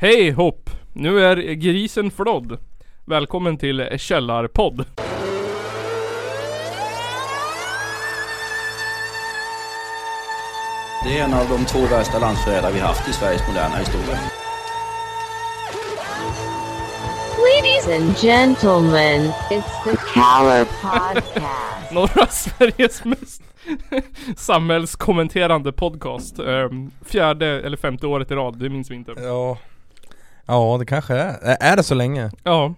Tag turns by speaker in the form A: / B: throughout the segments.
A: Hej hopp! Nu är grisen flådd. Välkommen till Källarpodd.
B: Det är en av de två värsta landsförrädare vi haft i Sveriges moderna historia.
C: Ladies and gentlemen, it's the Caller Podcast.
A: Norra Sveriges mest samhällskommenterande podcast. Ehm, Fjärde eller femte året i rad, det minns vi inte.
D: Ja Ja det kanske är, Ä- är det så länge?
A: Ja,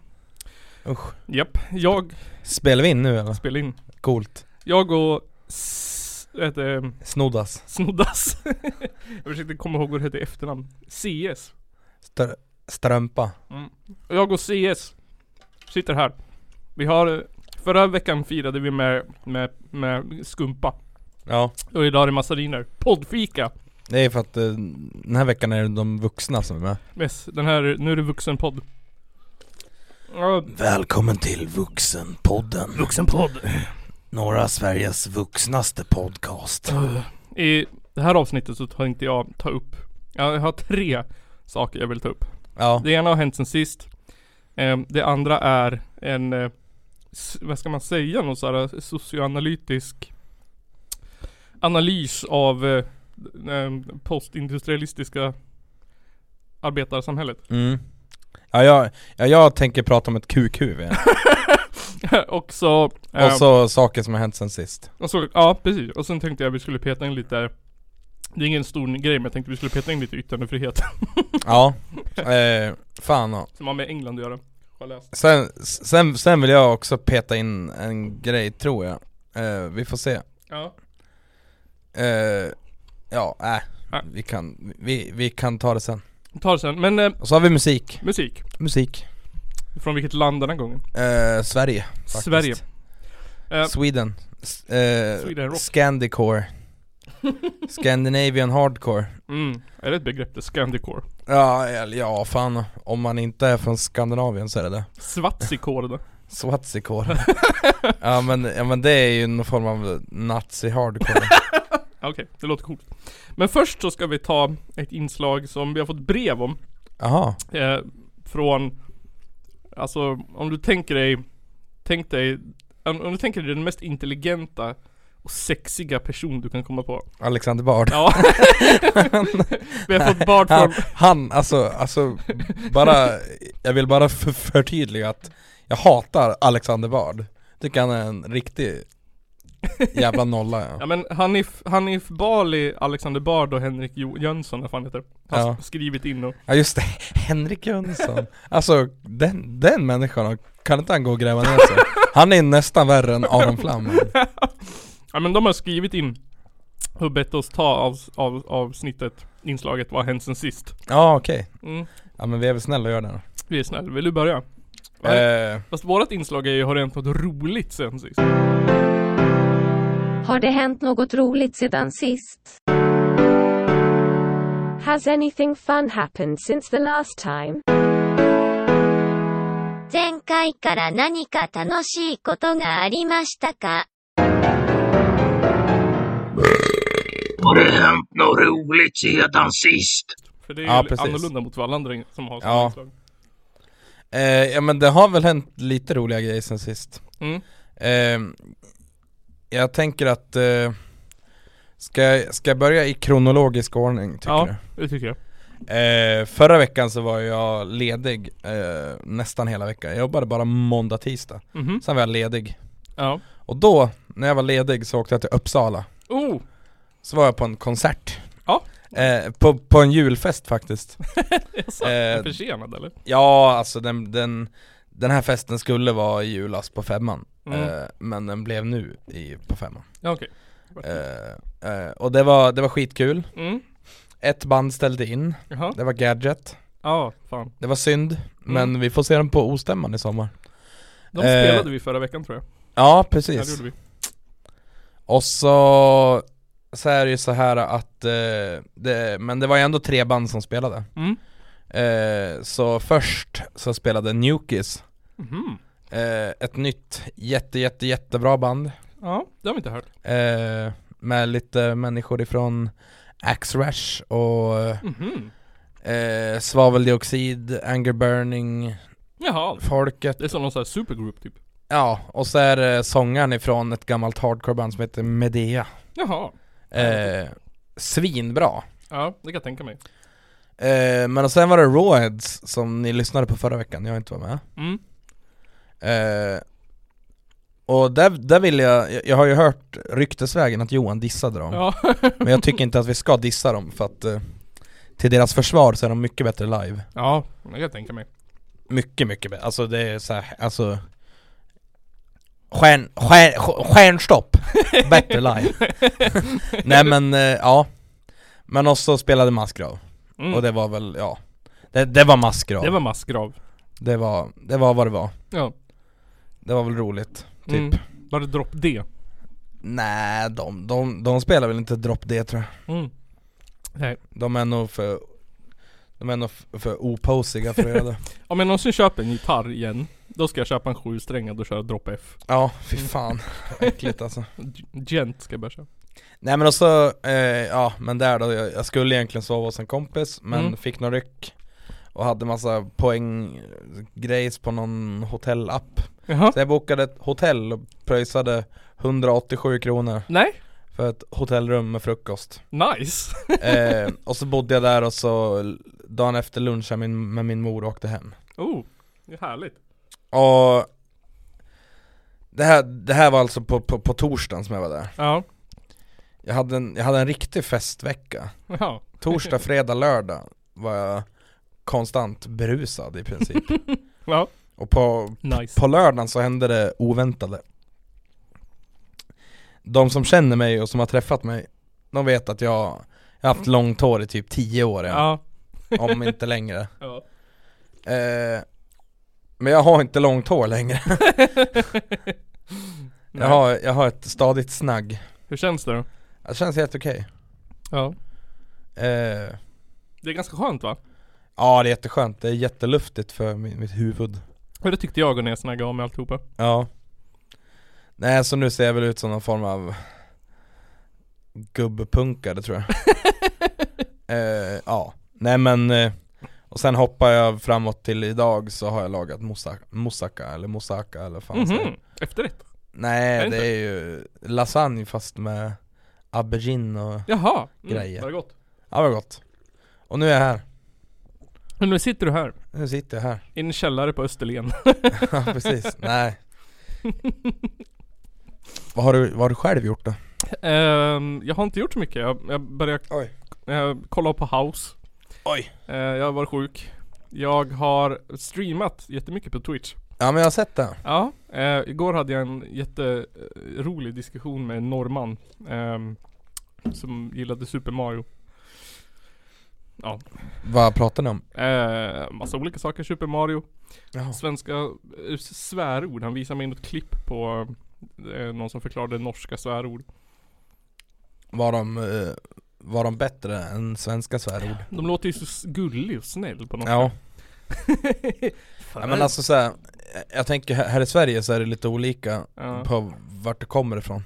D: Usch
A: japp. Jag
D: Spelar vi in nu eller?
A: spelar in.
D: Coolt
A: Jag och S- vad heter det?
D: Snoddas
A: Snoddas. Jag försökte komma ihåg vad det hette i efternamn. CS.
D: Str- Strömpa
A: Jag och CS sitter här. Vi har, förra veckan firade vi med, med, med skumpa.
D: Ja
A: Och idag är det massariner. Poddfika!
D: Det är för att eh, den här veckan är det de vuxna som är med
A: Yes, den här, nu är det vuxenpodd. Ja,
D: Välkommen till Vuxenpodden
A: vuxenpodd.
D: Norra Sveriges vuxnaste podcast
A: I det här avsnittet så tänkte jag ta upp, jag har tre saker jag vill ta upp.
D: Ja,
A: Det ena har hänt sen sist. Eh, Det andra är en, eh, s- vad ska man säga, någon sån här eh, socioanalytisk analys av eh, eh, postindustrialistiska arbetarsamhället.
D: mm. ja, jag, ja jag tänker prata om ett kukhuvud
A: och så... eh,
D: Och så saker som har hänt sen sist
A: Och så, ja precis. Och sen tänkte jag att vi skulle peta in lite Det är ingen stor grej men jag tänkte att vi skulle peta in lite yttrandefrihet
D: Ja, eh, fan ja.
A: Som har med England att göra Har jag läst.
D: Sen, sen, sen vill jag också peta in en grej tror jag eh, Vi får se
A: Ja
D: Eh, ja, äh,
A: Ja.
D: Vi, kan, vi, vi kan ta det sen.
A: Vi tar det sen, men eh,
D: Och så har vi musik.
A: musik
D: Musik.
A: Från vilket land den här gången?
D: Eh, Sverige. Faktiskt.
A: Sverige Eh,
D: Sweden. S- eh,
A: Sweden rock.
D: Scandicore. Scandinavian hardcore.
A: mm, Är det ett begrepp det? Scandicore
D: Ja, eller ja fan. Om man inte är från Skandinavien så är det det.
A: Svartsikore då?
D: Swazicore. ja, men, ja men det är ju någon form av nazi-hardcore.
A: Ja, Okej, det låter coolt Men först så ska vi ta ett inslag som vi har fått brev om
D: Jaha.
A: eh, Från Alltså om du tänker dig Tänk dig om, om du tänker dig den mest intelligenta och sexiga person du kan komma på
D: Alexander Bard.
A: Ja Vi har fått barn
D: Han,
A: från
D: han, alltså, alltså bara, jag vill bara för- förtydliga att jag hatar Alexander Bard Tycker han är en riktig jävla nolla
A: Ja
D: ja.
A: men Hanif, Hanif Bali, Alexander Bard och Henrik jo- Jönsson vad fan heter det? Har
D: Ja.
A: sk- skrivit in och
D: ja just det, Henrik Jönsson Alltså den, den människan, kan inte han gå och gräva ner sig? Han är nästan värre än Aron Flam
A: Ja men de har skrivit in Och bett oss ta av, av, avsnittet Inslaget Vad har hänt sen sist?
D: Ja okej,
A: Mm.
D: ja men vi är väl snälla och gör det då
A: Vi är snälla, vill du börja? Ja.
D: eh,
A: Fast vårat inslag är ju Har det hänt något roligt sen sist?
E: Har det hänt något roligt sedan sist? Has anything fun happened since the last time?
C: 前回から何か楽しいことがありましたか
F: Har det hänt något roligt sedan sist?
A: För det är
D: Ja,
A: ju
D: precis.
A: annorlunda mot alla andra in- som har sådana
D: Ja.
A: inslag
D: eh, ja men det har väl hänt lite roliga grejer sen sist
A: mm.
D: Ehm, jag tänker att eh, ska, jag- ska jag börja i kronologisk ordning tycker
A: Ja,
D: du?
A: det tycker jag
D: Eh, förra veckan så var jag ledig eh, nästan hela veckan. Jag jobbade bara måndag, tisdag.
A: Mhm.
D: Sen var jag ledig.
A: Ja
D: Och då, när jag var ledig så åkte jag till Uppsala.
A: Oh!
D: Så var jag på en konsert.
A: Ja.
D: Eh, på, på en julfest faktiskt.
A: Jaså, är
D: Eh,
A: försenad eller?
D: Ja, alltså den, den, den här festen skulle vara i julas på femman.
A: Mm.
D: Eh, men den blev nu i, på femman.
A: Ja okej
D: Eh, eh, och det var, det var skitkul.
A: mm.
D: Ett band ställde in,
A: Jaha,
D: det var Gadget
A: ja fan
D: Det var synd, men vi får se dem på ostämman i sommar
A: De
D: Eh,
A: spelade vi förra veckan tror jag
D: Ja
A: Ja, det
D: precis,
A: gjorde vi
D: och så, så är det ju så här att, eh, det, men det var ju ändå tre band som spelade
A: Mm.
D: eh, Så först så spelade Nukis
A: Mhm.
D: eh, ett nytt jätte jätte jättebra band
A: Ja, det har vi inte hört.
D: eh, Med lite människor ifrån Axe Rash och
A: Mhm.
D: eh, svaveldioxid, anger burning,
A: Jaha.
D: folket.
A: Det är som någon sån här supergroup typ.
D: Ja, och så är det sångaren ifrån ett gammalt hardcoreband som heter Medea.
A: Jaha.
D: Eh, svinbra.
A: Ja, det kan jag tänka mig.
D: Eh, men och sen var det Rawheads som ni lyssnade på förra veckan, jag inte var med.
A: Mm.
D: Eh, och där, där vill jag, jag- jag har ju hört ryktesvägen att Johan dissade dem.
A: Ja.
D: Men jag tycker inte att vi ska dissa dem för att eh, till deras försvar så är de mycket bättre live.
A: ja, det kan jag tänka mig.
D: Mycket, mycket bättre. Alltså det är så här, alltså Stjärn, stjärn, stjärnstopp! Bättre live. Nej men, eh, ja. Men också spelade Massgrav.
A: Mm.
D: Och det var väl, ja. Det, det var Massgrav.
A: Det var massgrav.
D: det var, det var vad det var.
A: Ja.
D: Det var väl roligt. Typ.
A: Mm. Var det dropp D?
D: Nej, de, de, de spelar väl inte Drop D tror jag.
A: Mm. Nej.
D: De är nog för De är nog f- för oposiga för att göra det
A: Om jag någonsin köper en gitarr igen, då ska jag köpa en sjusträngad och köra dropp F.
D: Ja, fy fan Äckligt alltså
A: G- Gent ska jag börja köpa.
D: Nej men också, eh, ja men där då jag, jag skulle egentligen sova hos en kompis men
A: Mm.
D: fick någon ryck Och hade massa poäng eh, grejs på någon hotellapp
A: Jaha.
D: Så jag bokade ett hotell och pröjsade 187 kronor
A: Nej.
D: för ett hotellrum med frukost
A: Nice.
D: eh, Och så bodde jag där och så l- dagen efter lunchen min, med min mor och åkte hem
A: oh, det är härligt.
D: Och det här, det här var alltså på, på, på torsdagen som jag var där
A: Ja.
D: jag hade, en, jag hade en riktig festvecka
A: Ja.
D: Torsdag, fredag, lördag var jag konstant berusad i princip
A: Ja.
D: Och på,
A: Nice.
D: på lördagen så hände det oväntade De som känner mig och som har träffat mig De vet att jag, jag har haft långt hår i typ 10 år ja.
A: Ja.
D: om inte längre
A: Ja.
D: eh, Men jag har inte långt hår längre jag,
A: Nej.
D: har, jag har ett stadigt snagg
A: Hur känns det då?
D: Det känns helt okej.
A: Ja.
D: Eh,
A: Det är ganska skönt va?
D: ja det är jätteskönt, det är jätteluftigt för mi- mitt huvud.
A: Och det tyckte jag när jag snaggade av mig alltihopa.
D: Ja. Nej så nu ser jag väl ut som någon form av gubbpunkare tror jag. eh, ja, nej men eh, och sen hoppar jag framåt till idag så har jag lagat moussaka, moussaka eller moussaka eller vad fan man säger.
A: Mhm. Efterrätt.
D: Nej
A: Är det
D: det,
A: inte?
D: är ju lasagne fast med aubergine och,
A: Jaha.
D: Grejer.
A: Var det gott?
D: ja vad gott. Och nu är jag här,
A: Men nu sitter du här.
D: nu sitter jag här.
A: I en källare på Österlen.
D: Ja precis, nej vad, har du, vad har du själv gjort då?
A: Ehm, jag har inte gjort så mycket. Jag, jag började
D: Oj.
A: eh, kolla på House.
D: Oj
A: Eh, jag var sjuk. Jag har streamat jättemycket på Twitch.
D: Ja men jag har sett det
A: Ja, eh, igår hade jag en jätterolig diskussion med en norrman ehm, Som gillade Super Mario Ja,
D: Vad pratar ni om?
A: eh, massa olika saker, Super Mario Svenska eh, svärord, han visade mig något klipp på eh, Någon som förklarade norska svärord
D: Var de, eh, var de bättre än svenska svärord?
A: De låter ju så s- gullig och snäll på något
D: Ja,
A: sätt
D: ja men alltså så här, jag tänker här här i Sverige så är det lite olika
A: Ja.
D: på vart du kommer ifrån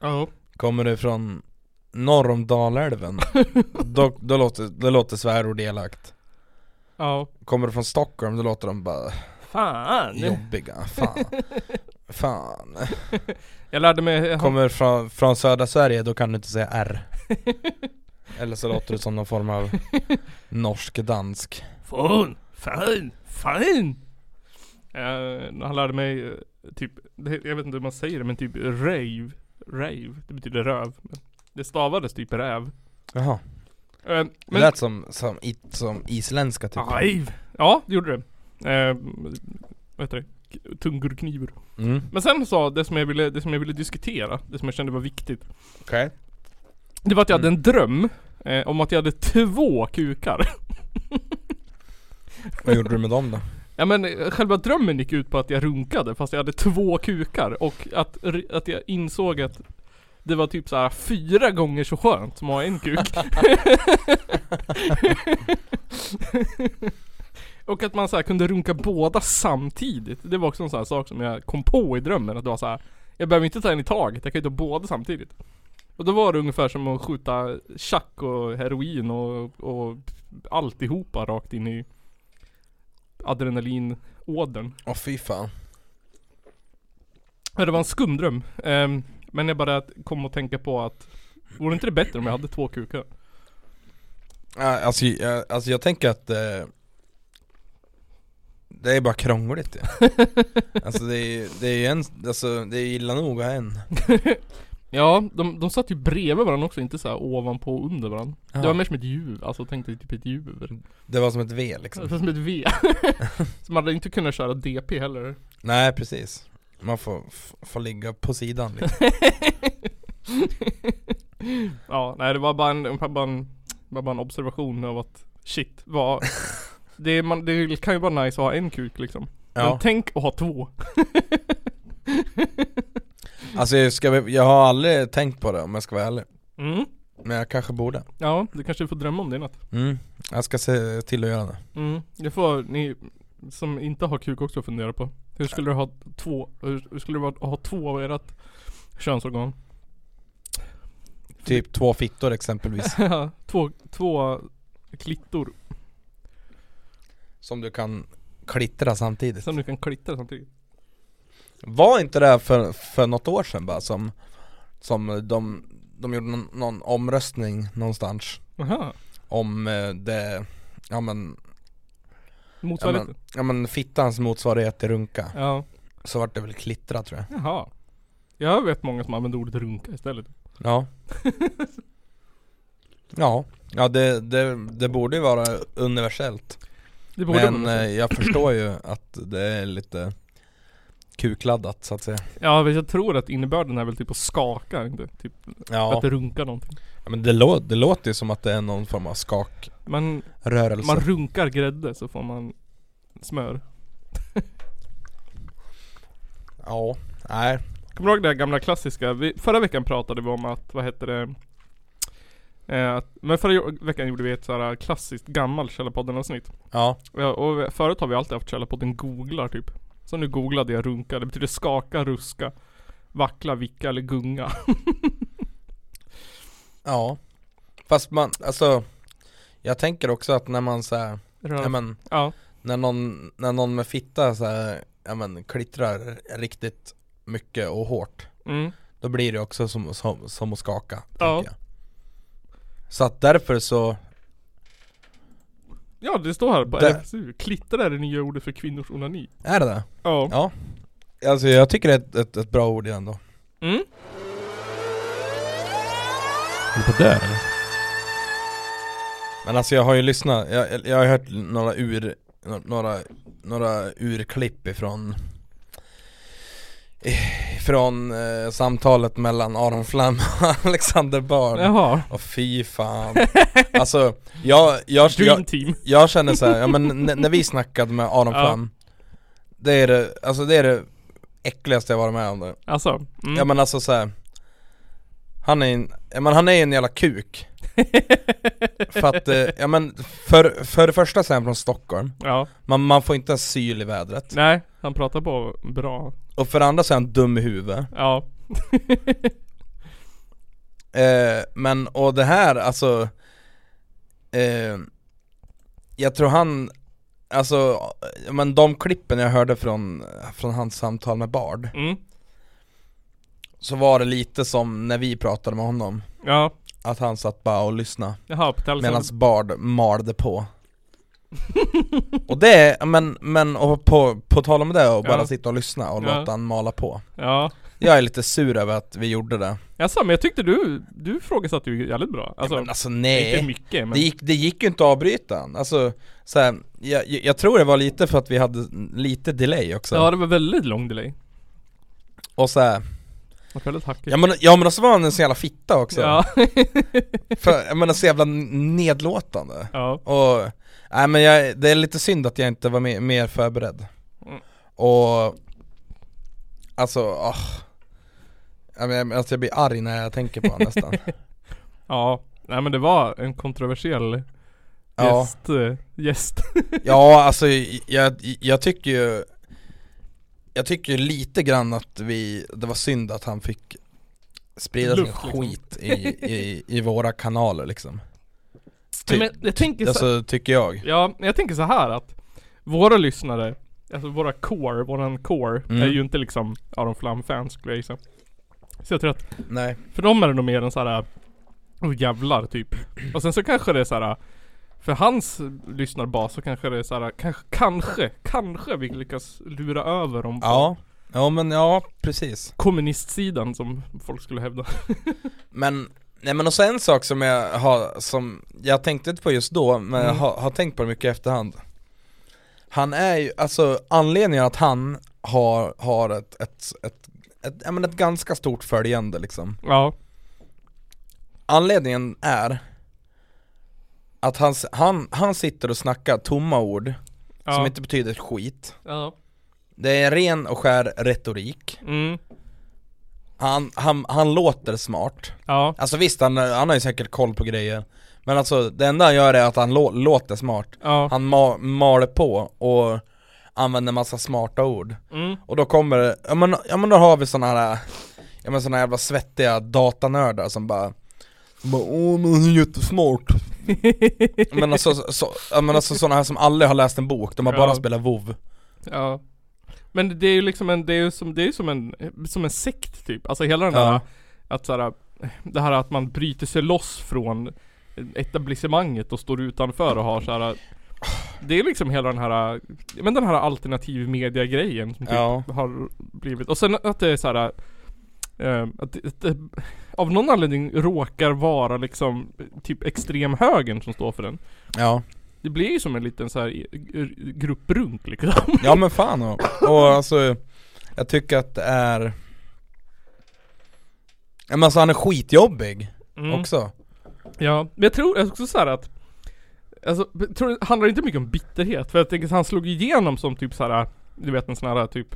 A: Ja,
D: Kommer du från norr om Dalälven, då, då, låter, då låter svärord elakt
A: ja
D: Kommer du från Stockholm då låter de bara
A: Fan!
D: jobbiga, fan Fan
A: Jag lärde mig han-
D: Kommer från, från södra Sverige, då kan du inte säga R Eller så låter du som någon form av norsk-dansk
A: Fan, fan, fan! Eh, han lärde mig eh, typ, det, jag vet inte hur man säger det men typ rave. Rave, det betyder röv. Men Det stavades typ räv.
D: Jaha,
A: Eh,
D: det
A: men, Ah,
D: lät som, som, i, som isländska typ
A: rave! Ja, det gjorde det. Eh, vad heter det? K- Tungurknivur.
D: mm.
A: Men sen sa det som jag ville, det som jag ville diskutera, det som jag kände var viktigt.
D: Okej
A: Det var att jag hade en dröm eh, om att jag hade två kukar.
D: Vad gjorde du med dem då?
A: Ja men eh, själva drömmen gick ut på att jag runkade fast jag hade två kukar och att, r- att jag insåg att det var typ så här fyra gånger så skönt som att ha en kuk. och att man så här kunde runka båda samtidigt. Det var också en sån här sak som jag kom på i drömmen att det var så här. Jag behöver inte ta en i taget, jag kan ju ta båda samtidigt. Och då var det ungefär som att skjuta tjack och heroin och, och alltihopa rakt in i adrenalinådern.
D: Åh fy fan.
A: Ja, Det var en skum dröm. Ehm, men jag bara kom att tänka på att Vore inte det bättre om jag hade två kukar?
D: Ja, Alltså, jag, alltså jag tänker att eh, Det är bara krångligt ja. Alltså det är, det är ju en, alltså det är illa nog att ha en
A: Ja, de, de satt ju bredvid varandra också, inte så här ovanpå och under varandra. Det var mer som ett djur, alltså tänk dig typ ett djur.
D: Det var som ett V liksom
A: Det var som ett V. Så man hade inte kunnat köra DP heller.
D: Nej precis Man får, f- får ligga på sidan liksom.
A: Ja, nej det var bara en, bara en, bara bara en observation av att shit, vad det, är- man, det kan ju vara nice att ha en kuk liksom. Men
D: ja.
A: tänk att ha två.
D: Alltså jag, ska, jag har aldrig tänkt på det om jag ska vara ärlig
A: Mm.
D: Men jag kanske borde
A: Ja, du kanske får drömma om det i natt.
D: mm. Jag ska se till att göra det
A: Mm. Det får ni som inte har kuk också fundera på. Hur skulle du ha två, hur, hur skulle det vara att ha två av ert könsorgan?
D: Typ två fittor exempelvis
A: två, två klittor
D: Som du kan klittra samtidigt
A: som du kan klittra samtidigt.
D: Var inte det här för, för något år sedan bara som, som de, de gjorde någon, någon omröstning någonstans
A: Aha.
D: om eh, det, ja men, ja
A: Motsvarigheten?
D: men, ja men fittans motsvarighet till runka
A: Ja.
D: Så vart det väl klittra tror jag
A: Jaha. Jag vet många som använder ordet runka istället.
D: Ja Ja, ja det, det, det borde ju vara universellt
A: Det borde
D: Men
A: man
D: eh, jag förstår ju att det är lite kukladdat så att säga
A: Ja men jag tror att innebörden är väl typ att skaka inte? Typ
D: Ja,
A: att runka någonting.
D: Ja, men det, lå- det låter ju som att det är någon form av skakrörelse
A: Men man runkar grädde så får man smör.
D: Ja, nej
A: Kommer du ihåg det här gamla klassiska? Vi, förra veckan pratade vi om att, vad hette det? Eh, att- men förra jo- veckan gjorde vi ett såhär klassiskt gammal Källarpodden avsnitt.
D: Ja,
A: Ja, och förut har vi alltid haft Källarpodden googlar typ. Så nu googlade jag runka. Det betyder skaka, ruska, vackla, vicka eller gunga.
D: ja Fast man, alltså Jag tänker också att när man såhär, ja men
A: ja.
D: När någon, när någon med fitta såhär, ja men klittrar riktigt mycket och hårt
A: Mm.
D: Då blir det också som, som, som att skaka,
A: Ja.
D: tänker jag Så att därför så,
A: Ja det står här på
D: Där.
A: RFSU, klittra är det nya ordet för kvinnors onani.
D: är det det?
A: Ja.
D: Ja Alltså jag tycker det är ett, ett, ett bra ord igen då
A: Mm.
D: Håller på att dö eller? Men alltså jag har ju lyssnat, jag, jag har hört några ur, några, några urklipp ifrån Från eh, samtalet mellan Aron Flam och Alexander Bard
A: Jaha.
D: Åh fy fan Alltså, jag, jag,
A: Dream
D: jag,
A: team.
D: jag känner så här, ja men n- när vi snackade med Aron
A: Ja.
D: Flam Det är det, alltså det är det äckligaste jag varit med om det.
A: Alltså. Mm.
D: Ja men alltså så här, Han är en, ja, men han är en jävla kuk För att, eh, ja men för, för det första så är han från Stockholm
A: ja.
D: man, man får inte asyl i vädret
A: Nej, han pratar på bra.
D: Och för det andra så är han dum i huvudet
A: Ja.
D: Eh, men och det här alltså eh, Jag tror han Alltså, ja, men de klippen jag hörde från, från hans samtal med Bard
A: Mm.
D: Så var det lite som när vi pratade med honom
A: Ja.
D: Att han satt bara och lyssnade
A: Jaha, på Tallsson.
D: medan Bard malde på Och det, är- men, men och på, på tal om det och bara
A: Ja.
D: sitta och lyssna och
A: Ja.
D: låta han mala på
A: Ja.
D: Jag är lite sur över att vi gjorde det
A: Jaså, men jag tyckte du, du frågesatte ju jävligt bra. Alltså,
D: Men alltså nej
A: inte mycket men.
D: Det gick, det gick ju inte att avbryta han. alltså så här, jag, jag jag tror det var lite för att vi hade lite delay också
A: Ja, det var väldigt lång delay.
D: Och så här,
A: Det var väldigt hackigt.
D: ja, men, ja men så var han en så jävla fitta också
A: Ja.
D: alltså. för, Jag menar så jävla nedlåtande
A: ja.
D: Och, nej men jag, det är lite synd att jag inte var mer, mer förberedd
A: Mm.
D: Och, alltså, åh Ja, men jag, alltså jag blir arg när jag tänker på honom nästan
A: Ja. Nej men det var en kontroversiell
D: Ja.
A: gäst. eh, Gäst.
D: Ja, alltså jag, jag tycker ju Jag tycker ju lite grann att vi, det var synd att han fick sprida sin
A: Luft, liksom.
D: skit i, i, i våra kanaler liksom Typ.
A: Men jag tänker så,
D: Alltså tycker jag
A: ja, men jag tänker så här att våra lyssnare, alltså våra core, våran core,
D: Mm.
A: är ju inte liksom Aron Flam-fans skulle jag gissa. Så jag tror att
D: Nej
A: För dem är det nog mer en såhär Oh jävlar typ Och sen så kanske det är såhär För hans lyssnarbas så kanske det är såhär Kanske, kanske, kanske vi lyckas lura över dem på
D: Ja Ja men ja, precis
A: kommunistsidan som folk skulle hävda
D: Men, nej men också en sak som jag har, som jag tänkte inte på just då, men jag har, har tänkt på det mycket i efterhand Han är ju, alltså anledningen att han har, har ett, ett, ett, ett, ja, men ett ganska stort följande liksom
A: Ja,
D: Anledningen är att han, s- han, han sitter och snackar tomma ord
A: ja,
D: som inte betyder ett skit
A: ja.
D: Det är ren och skär retorik
A: Mm.
D: Han, han, han låter smart
A: ja,
D: Alltså visst, han, han har ju säkert koll på grejer Men alltså det enda han gör är att han lå- låter smart
A: ja,
D: Han ma- maler på och använder massa smarta ord
A: mm.
D: Och då kommer det, ja men, ja, men då har vi såna här Ja men såna jävla svettiga datanördar som bara bara, Åh men han är jättesmart Men alltså, så, ja, men alltså såna här som aldrig har läst en bok, de har bara
A: Ja.
D: spelat WoW
A: ja Men det är ju liksom en, det är ju som, det är ju som en, som en sekt typ Alltså hela den där
D: Ja.
A: Att såhär Det här att man bryter sig loss från etablissemanget och står utanför och har såhär Det är liksom hela den här Men den här alternativ media grejen som typ
D: Ja.
A: har blivit Och sen att det är såhär eh, att, det- att det av någon anledning råkar vara liksom typ extremhögern som står för den.
D: Ja,
A: Det blir ju som en liten så här i- gr- grupprunk liksom.
D: ja men fan och, och alltså Jag tycker att det är Ja men alltså han är skitjobbig
A: Mm.
D: också
A: Ja, men jag tror också så här att Alltså, b- tror, du- handlar det inte mycket om bitterhet? För jag tänker så han slog igenom som typ så här. Du vet en sån här typ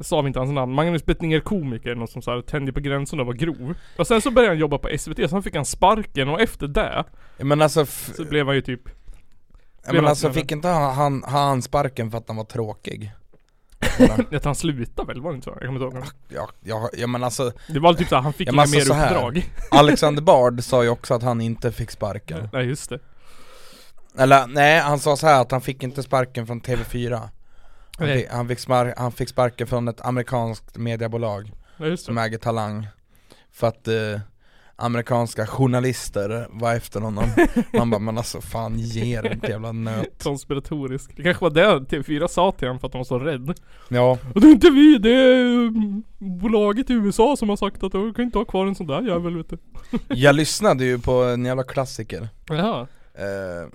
A: Sa vi inte hans namn? Magnus Betnér komiker, någon som så här tände på gränsen och var grov Och sen så började han jobba på SVT, sen fick han sparken och efter det
D: Ja, Men alltså, f-
A: Så blev han ju typ
D: ja,
A: blev
D: men
A: han
D: alltså
A: snällare.
D: fick inte han, han, han sparken för att han var tråkig?
A: Att han slutade väl, var det inte så? Jag kommer inte ihåg
D: Ja, ja, ja men alltså
A: Det var typ så här, han fick
D: Ja, men
A: inga
D: alltså
A: mer
D: så här.
A: uppdrag
D: Alexander Bard sa ju också att han inte fick sparken
A: Nej just det
D: Eller nej, han sa så här att han fick inte sparken från TV4 Han
A: Nej.
D: fick, han fick, smar- han fick sparken från ett amerikanskt mediebolag
A: Nej just
D: som
A: det
D: äger Talang För att eh, amerikanska journalister var efter honom Man bara men alltså fan ge dig ett jävla nöt
A: Konspiratorisk Det kanske var det TV4 sa till honom för att han var så rädd
D: Ja,
A: Och det är inte vi, det är mm, bolaget i USA som har sagt att de kan inte ha kvar en sån där jävel vet du.
D: jag lyssnade ju på en jävla klassiker
A: Jaha.
D: eh,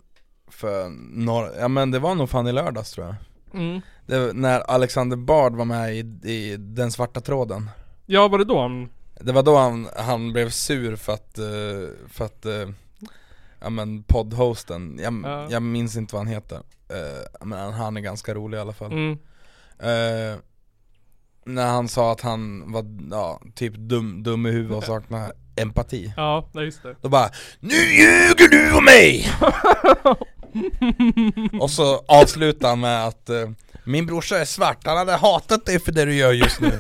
D: För några, ja men det var nog fan i lördags tror jag
A: Mm.
D: det var när Alexander Bard var med i, i Den svarta tråden
A: Ja, var det då Mm. han...
D: Det var då han, han blev sur för att, eh, för att eh, Ja men poddhosten, jag,
A: Ja.
D: jag minns inte vad han heter Eh, Men han- han är ganska rolig i alla fall
A: Mm.
D: Eh, När han sa att han var ja, typ dum, dum i huvudet och saknade empati
A: Ja, nej just det.
D: Då bara Nu ljuger du om mig! och så avslutar han med att eh, Min brorsa är svart, han hade hatat dig för det du gör just nu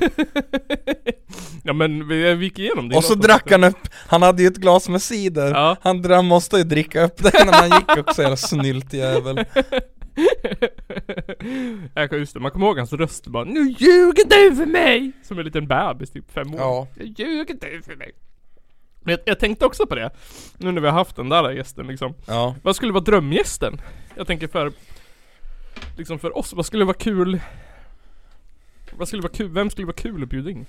A: Ja men vi, vi gick igenom det.
D: Och så
A: innan.
D: drack han upp, han hade ju ett glas med cider
A: Ja.
D: Han dra- måste ju dricka upp det när han gick också, jävla snyltjävel
A: Jag kan just det, man kommer ihåg hans röst bara Nu ljuger du för mig! Som en liten bebis, typ fem år.
D: Ja.
A: Nu ljuger du för mig. Men jag, jag tänkte också på det. Nu när vi har haft den där gästen liksom.
D: Ja,
A: Vad skulle vara drömgästen? Jag tänker för Liksom för oss, vad skulle vara kul? Vad skulle vara kul? Vem skulle vara kul att bjuda in?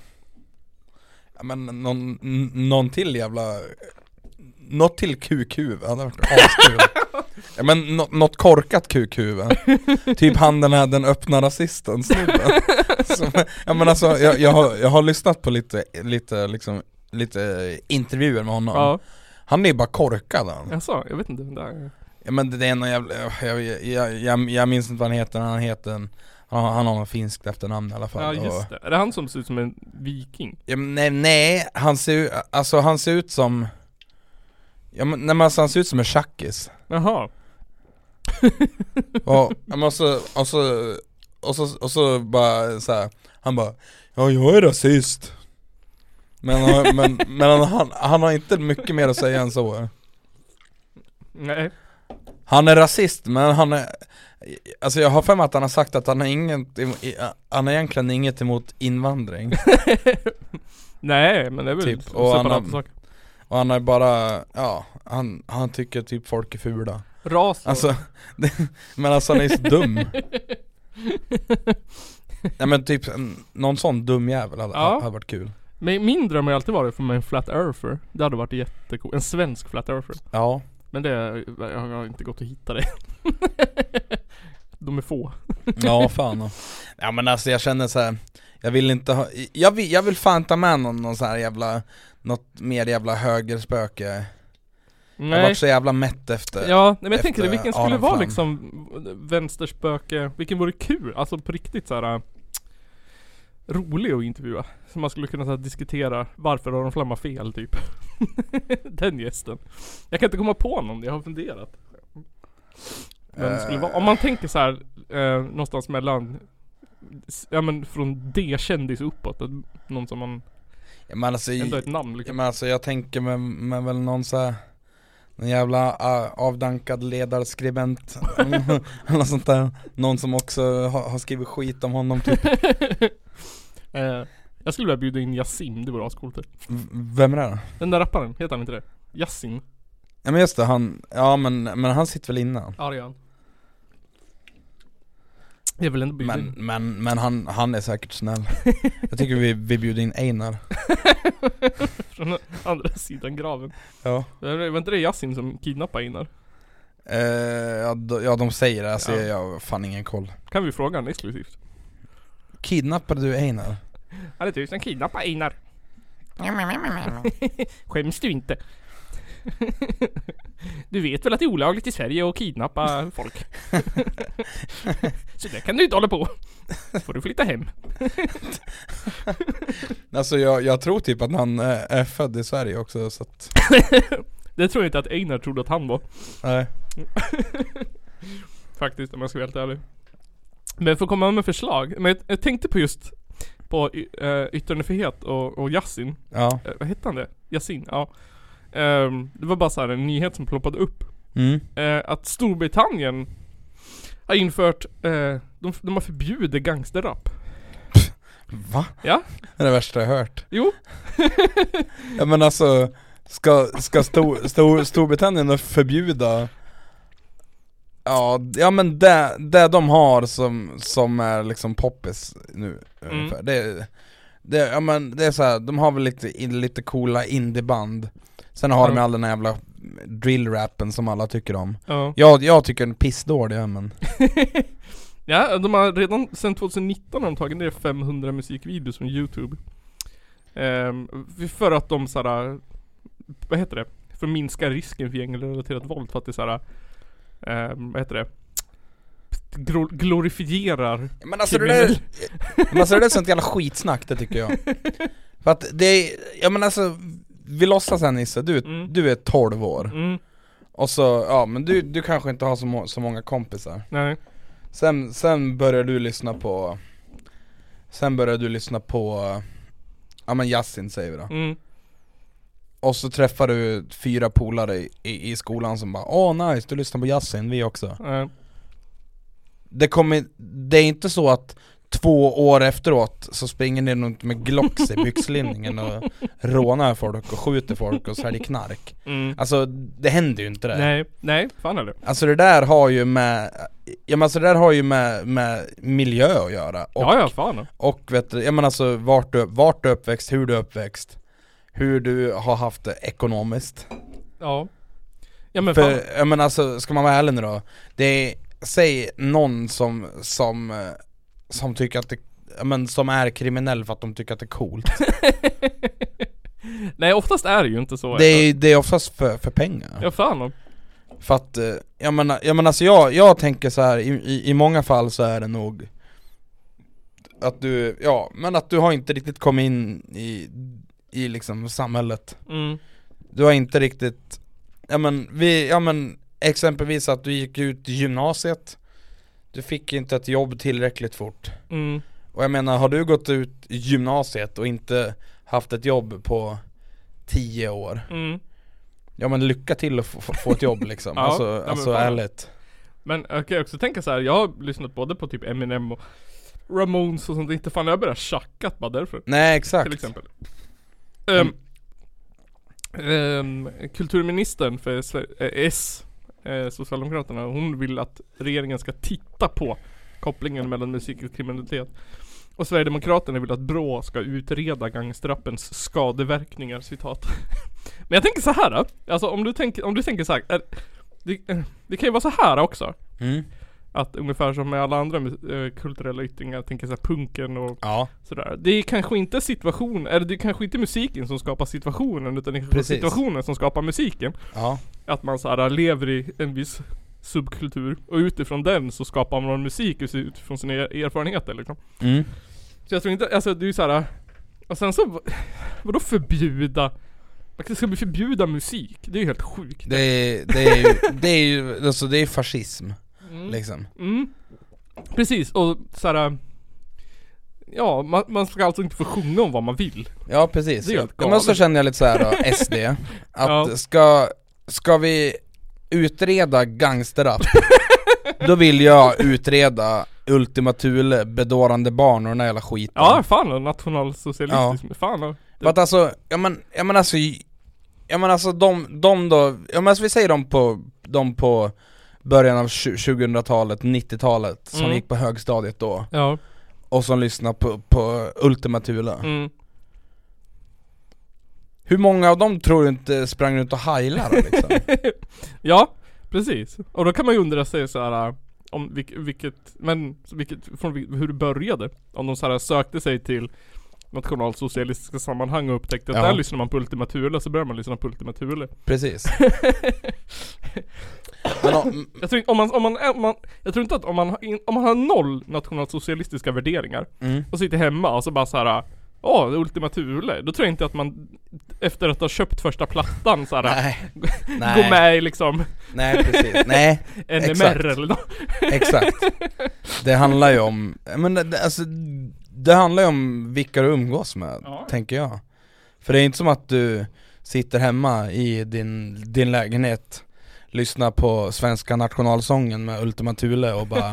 D: Ja, men någon, n- någon till jävla Något till kukhuvud hade varit askul Ja men nå- något korkat kukhuvud Typ han den här den öppna rasisten snubben Som- Ja men alltså jag, jag, har, jag har lyssnat på lite, lite liksom Lite intervjuer med honom
A: Ja,
D: Han är ju bara korkad han
A: alltså, jag vet inte vem det är.
D: Ja men det är någon jävla, jag, jag, jag, jag, jag minns inte vad han heter, men han heter en, han, har- han har något finskt efternamn i alla
A: Ja
D: fall och,
A: just det, är det han som ser ut som en viking?
D: ja, men nej, nej, han ser ju- alltså han ser ut som Ja men, nej, men alltså, han ser ut som en tjackis
A: Jaha,
D: och, ja, men och, så, och, så, och så, och så bara så här, han bara Ja jag är rasist Men, han- men, men han, han har inte mycket mer att säga än så
A: Nej.
D: Han är rasist men han är Alltså jag har för mig att han har sagt att han har inget em- i- Han har egentligen inget emot invandring
A: Nej men det är väl
D: Typ,
A: typ,
D: och han
A: separata
D: har-
A: saker.
D: Och han är bara, ja han, han tycker typ folk är fula
A: Ras och-
D: Alltså, det, men alltså han är så dum Nej men typ en- någon sån dum jävel hade,
A: Ja.
D: hade varit kul
A: Men min dröm har ju alltid varit att få med en flat earther. Det hade varit jättecoolt. En svensk flat earther.
D: Ja,
A: Men det, jag har inte gått att hitta det. De är få.
D: ja fan Ja men alltså jag känner så här. Jag vill inte ha, jag vill, jag vill fan ta med någon, någon så här jävla Något mer jävla högerspöke Jag har
A: Nej.
D: varit så jävla mätt efter
A: Ja, nej, men jag
D: Eh, efter
A: tänker det, vilken skulle
D: Adam
A: vara
D: Flam.
A: liksom vänsterspöke, vilken vore kul? Alltså på riktigt så här äh, rolig att intervjua. Så man skulle kunna så här, diskutera varför Aron Flam har fel typ. Den gästen. Jag kan inte komma på någon, jag har funderat. Men det skulle vara, om man tänker så här eh, någonstans mellan s- Ja men från D-kändis uppåt, att någon som man
D: Ja, Men alltså,
A: ändå har ett namn
D: ja,
A: liksom.
D: men alltså jag tänker med, med väl någon så här, Någon jävla ah, avdankad ledarskribent Eller något sånt där Någon som också har, har skrivit skit om honom typ
A: eh, jag skulle vilja bjuda in Yasim, det vore ascoolt.
D: V- Vem är det då?
A: Den där rapparen, heter han inte det? Yasin?
D: Ja men just det, han, ja men, men han sitter väl innan
A: Ja det gör han. Det är väl ändå bjuden
D: Men,
A: in.
D: men, men han, han är säkert snäll Jag tycker vi, vi bjuder in Einar
A: från andra sidan graven.
D: Ja
A: Det Var inte det Yasin som kidnappade Einar?
D: eh, ja, de, ja de säger det, alltså
A: Ja.
D: jag har fan ingen koll
A: Kan vi fråga honom exklusivt?
D: Kidnappade du Einar?
A: Han är tusen kidnappade Einar. Skäms du inte? Du vet väl att det är olagligt i Sverige att kidnappa folk? Så det kan du inte hålla på. får du flytta hem.
D: Alltså jag, jag tror typ att han eh, är född i Sverige också så att,
A: Det tror jag inte att Einar trodde att han var.
D: nej
A: Faktiskt om jag ska vara helt ärlig. Men för att komma med förslag. Men jag, jag tänkte på just på y- eh, yttrandefrihet och, och Yasin.
D: Ja,
A: Eh, vad hette han det? Yasin? Ja. Ehm, det var bara så här en nyhet som ploppade upp.
D: mm.
A: Eh, att Storbritannien har infört, eh, de, de har förbjudit gangsterrap.
D: va?
A: Ja.
D: Det är det värsta jag hört
A: Jo.
D: Ja men alltså, ska, ska stor, stor, Storbritannien då förbjuda Ja, d- ja men det, det de har som, som är liksom poppis nu
A: Mm.
D: ungefär, det, det, ja men det är så här, de har väl lite, in- lite coola indieband Sen har de
A: Ja.
D: all den här jävla drillrappen som alla tycker om
A: Ja.
D: Jag, jag tycker den är pissdålig ja, men
A: ja, de har redan sedan 2019 har de tagit ner 500 musikvideos från youtube. Ehm, för att de så här, vad heter det? För att minska risken för gängrelaterat våld för att det så här, ehm, vad heter det? Gro- Glorifierar
D: Men alltså det där, men alltså det där är sånt jävla skitsnack det tycker jag För att det är, ja men alltså Vi låtsas här Nisse, du,
A: Mm.
D: du är 12 år
A: Mm,
D: Och så, ja men du, du kanske inte har så, må- så många kompisar
A: nej.
D: Sen, sen börjar du lyssna på Sen börjar du lyssna på Ja men Yasin säger vi då
A: Mm.
D: Och så träffar du fyra polare i, i, i skolan som bara Åh nice, du lyssnar på Yasin, vi också
A: nej.
D: det kommer, det är inte så att två år efteråt så springer ni runt med Glocks i byxlinningen och rånar folk och skjuter folk och säljer knark
A: Mm.
D: Alltså det händer ju inte det
A: Nej, nej, fan eller?
D: Alltså det där har ju med, ja men alltså det där har ju med, med miljö att göra och,
A: Ja, ja, fan.
D: och vet du, ja men alltså vart du, vart du är uppväxt, hur du är uppväxt Hur du har haft det ekonomiskt
A: Ja. Ja men fan.
D: För, ja men alltså, ska man vara ärlig nu då Det är, säg någon som, som, eh, som tycker att det, ja, men som är kriminell för att de tycker att det är coolt
A: Nej, oftast är det ju inte så.
D: Det är, det är oftast för, för pengar
A: Ja, fan.
D: För att, eh, jag menar, jag menar alltså jag, jag tänker så här i, i, i många fall så är det nog Att du, ja men att du har inte riktigt kommit in i, i liksom samhället
A: Mm.
D: Du har inte riktigt, ja men vi, ja men exempelvis att du gick ut gymnasiet Du fick inte ett jobb tillräckligt fort
A: Mm.
D: Och jag menar, har du gått ut gymnasiet och inte haft ett jobb på 10 år
A: Mm.
D: Ja men lycka till att få, få- få ett jobb liksom,
A: Ja,
D: alltså,
A: ja, men
D: alltså
A: fan.
D: ärligt
A: Men jag kan ju också tänka så här. jag har lyssnat både på typ Eminem och Ramones och sånt. Inte fan jag börjar tjackat bara därför.
D: Nej exakt
A: Till exempel. Ehm, ehm, kulturministern för Sver- eh, S, eh, Socialdemokraterna, hon vill att regeringen ska titta på kopplingen mellan musik och kriminalitet. Och Sverigedemokraterna vill att BRÅ ska utreda gangstrappens skadeverkningar, citat. Men jag tänker så här, då. alltså om du tänker, om du tänker så här, är, det, eh, det kan ju vara så här också.
D: Mm.
A: Att ungefär som med alla andra eh, kulturella yttringar, jag tänker så här punken och
D: Ja,
A: Sådär. Det är kanske inte situation, eller det är kanske inte musiken som skapar situationen utan det är kanske
D: Precis.
A: situationen som skapar musiken.
D: ja,
A: Att man såhär lever i en viss subkultur och utifrån den så skapar man musik utifrån sina er- erfarenheter liksom.
D: mm.
A: Så jag tror inte, alltså det är ju såhär Och sen så, vadå förbjuda? Man ska vi förbjuda musik? Det är ju helt sjukt.
D: Det, är, det är ju, det är ju, alltså det är fascism liksom
A: Mm. Precis, och såhär Ja, man, man ska alltså inte få sjunga om vad man vill.
D: Ja precis,
A: Det är helt
D: ja, men så
A: galet.
D: känner jag lite så här då, SD, att
A: Ja.
D: ska, ska vi utreda gangsterrap, då vill jag utreda Ultima Thule, Bedårande barn och den där jävla skiten
A: Ja, fan nationalsocialistisk. Fan och,
D: För att alltså, ja men, ja men alltså, ja men alltså de, de då, ja men alltså vi säger de på, de på början av tju- 2000-talet, 90-talet, som
A: Mm.
D: gick på högstadiet då,
A: ja.
D: och som lyssnade på, på Ultima Thule
A: Mm.
D: Hur många av dem tror du inte sprang runt och heilade liksom?
A: Ja, precis. Och då kan man ju undra sig så här äh, om vilk, vilket, men så vilket, från vil- hur det började. Om de så här sökte sig till nationalsocialistiska sammanhang och upptäckte att
D: Ja.
A: där lyssnar man på Ultima Thule så börjar man lyssna på Ultima Thule.
D: Precis Men om,
A: Jag tror, inte- om man, om man, om man, jag tror inte att om man, har in- om man har noll nationalsocialistiska värderingar
D: mm,
A: och sitter hemma och så bara så här. äh, Ja, Ultima Thule. Då tror jag inte att man efter att ha köpt första plattan så här,
D: nej,
A: går
D: nej,
A: med i liksom
D: nej precis, nej,
A: NMR
D: Exakt.
A: eller något.
D: exakt Det handlar ju om, men det, det- alltså, det handlar ju om vilka du umgås med,
A: Ja.
D: tänker jag För det är inte som att du sitter hemma i din, din lägenhet Lyssnar på svenska nationalsången med Ultima Thule och bara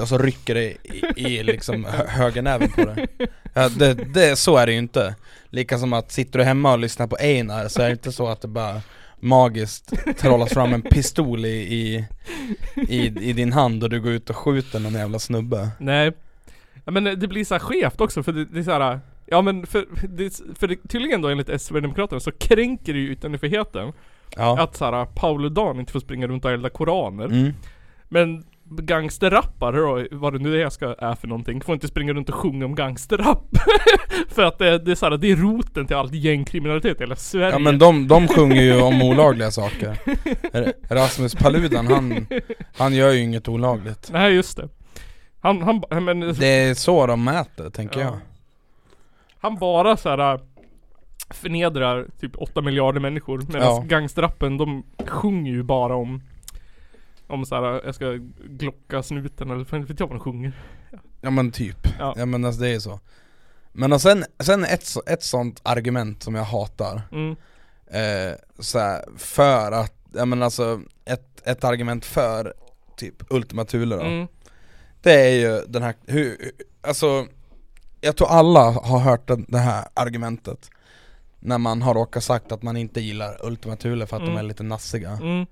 D: Och så rycker det i, i liksom hö- högernäven på det. Ja, det, det Så är det ju inte Lika som att sitter du hemma och lyssnar på Einar så är det inte så att det bara magiskt trollas fram en pistol i, i, i, i din hand och du går ut och skjuter någon jävla snubbe
A: Nej. Ja, men eh, det blir så här skevt också för det, det är så här. eh, Ja men för, det, för det, tydligen då enligt Sverigedemokraterna så kränker det ju yttrandefriheten
D: Ja,
A: att såhär Pauludan inte får springa runt och elda koraner.
D: mm.
A: Men gangsterrappare då, vad det nu är jag ska är för någonting, får inte springa runt och sjunga om gangsterrapp. för att det, det är såhär, det är roten till all gängkriminalitet i hela Sverige.
D: ja men de, de sjunger ju om olagliga saker R- Rasmus Paludan han, han gör ju inget olagligt
A: Nej just det. Han, han, han men,
D: Det är så de mäter tänker
A: Ja.
D: jag
A: Han bara så här äh, förnedrar typ 8 miljarder människor medan
D: Ja.
A: gangsterrappen de sjunger ju bara om om så här, äh, jag ska glocka snuten eller fan vet jag vad de sjunger.
D: Ja men typ,
A: Ja.
D: ja, men alltså det är så Men och sen, sen ett, så- ett sånt argument som jag hatar
A: Mm.
D: eh, så här, för att, ja men alltså ett, ett argument för typ Ultima Thule då,
A: Mm.
D: det är ju den här, hur, alltså jag tror alla har hört den, det här argumentet när man har råkat sagt att man inte gillar Ultima Thule för att
A: Mm.
D: de är lite nassiga
A: Mm.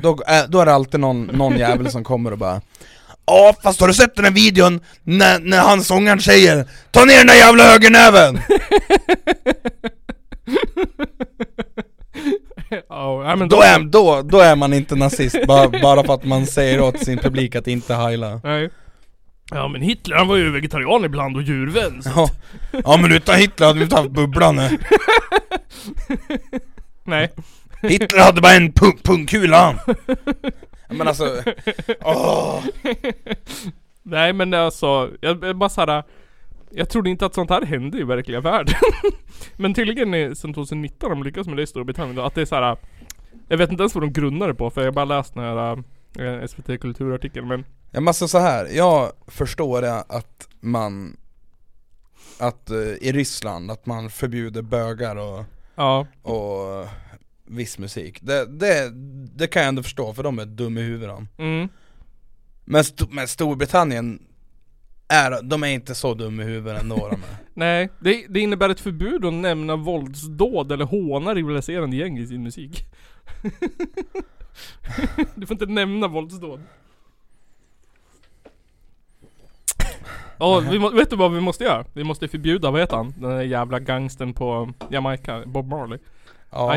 D: då, eh, då är det alltid någon, någon jävel som kommer och bara Ja fast har du sett den här videon när, när han sångaren säger Ta ner den där jävla högernäven!
A: Ja, nej, men
D: Då är, då, då är man inte nazist, bara, bara för att man säger åt sin publik att inte heila
A: Nej. Ja men Hitler han var ju vegetarian ibland och djurvän så.
D: ja. ja men utan Hitler hade vi inte haft bubblan eh.
A: Nej.
D: Hitler hade bara en pung- pungkula han Ja, Men alltså, åh!
A: Nej men alltså, jag jag bara såhär Jag trodde inte att sånt här hände i verkliga världen Men tydligen är- sen 2019 har de lyckats med det i Storbritannien då, att det är såhär Jag vet inte ens vad de grundar det på för jag har bara läst den här eh, SVT kulturartikeln men
D: Ja men alltså så här. jag förstår det att man att eh, i Ryssland, att man förbjuder bögar och,
A: Ja,
D: och eh, viss musik det, det, det kan jag ändå förstå för de är dumma i huvuden
A: mm.
D: Men, Sto- men Storbritannien är, de är inte så dumma i huvudet ändå de är.
A: Nej, det, det innebär ett förbud att nämna våldsdåd eller håna rivaliserande gäng i sin musik. du får inte nämna våldsdåd. Ja, vi må, vet du vad vi måste göra? Vi måste förbjuda, vad heter han? Den där jävla gangsten på Jamaica, Bob Marley.
D: Ja,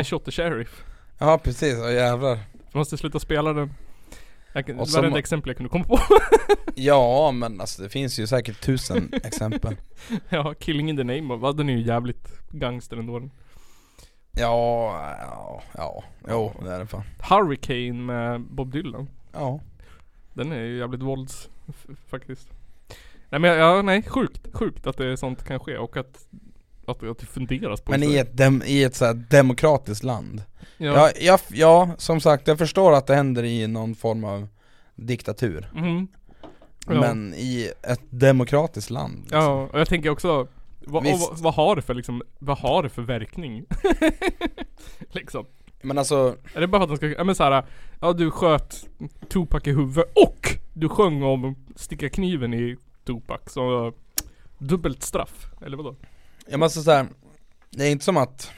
A: I shot the sheriff.
D: ja precis, ja jävlar
A: Vi måste sluta spela den. Jag kan, det var
D: Och
A: det
D: som-
A: enda exempel jag kunde komma på.
D: Ja men alltså det finns ju säkert tusen exempel
A: ja, Killing in the name of, den är ju jävligt gangster ändå. den.
D: Ja, ja, ja, jo det är det fan
A: Hurricane med Bob Dylan.
D: Ja
A: Den är ju jävligt vålds f- faktiskt. Nej men ja, nej sjukt, sjukt att det sånt kan ske och att att, att det funderas på
D: Men
A: det.
D: i ett, dem, i ett så här demokratiskt land
A: ja.
D: ja. Ja, ja, som sagt jag förstår att det händer i någon form av diktatur
A: Mhm. Ja.
D: Men i ett demokratiskt land liksom.
A: Ja, och jag tänker också vad, och,
D: Visst.
A: vad- vad har det för liksom, vad har det för verkning? liksom.
D: Men alltså,
A: Är det bara för att de ska, ja men såhär, ja du sköt Tupac i huvudet och du sjöng om att sticka kniven i Tupac så dubbelt straff, eller vadå?
D: jag måste säga Det är inte som att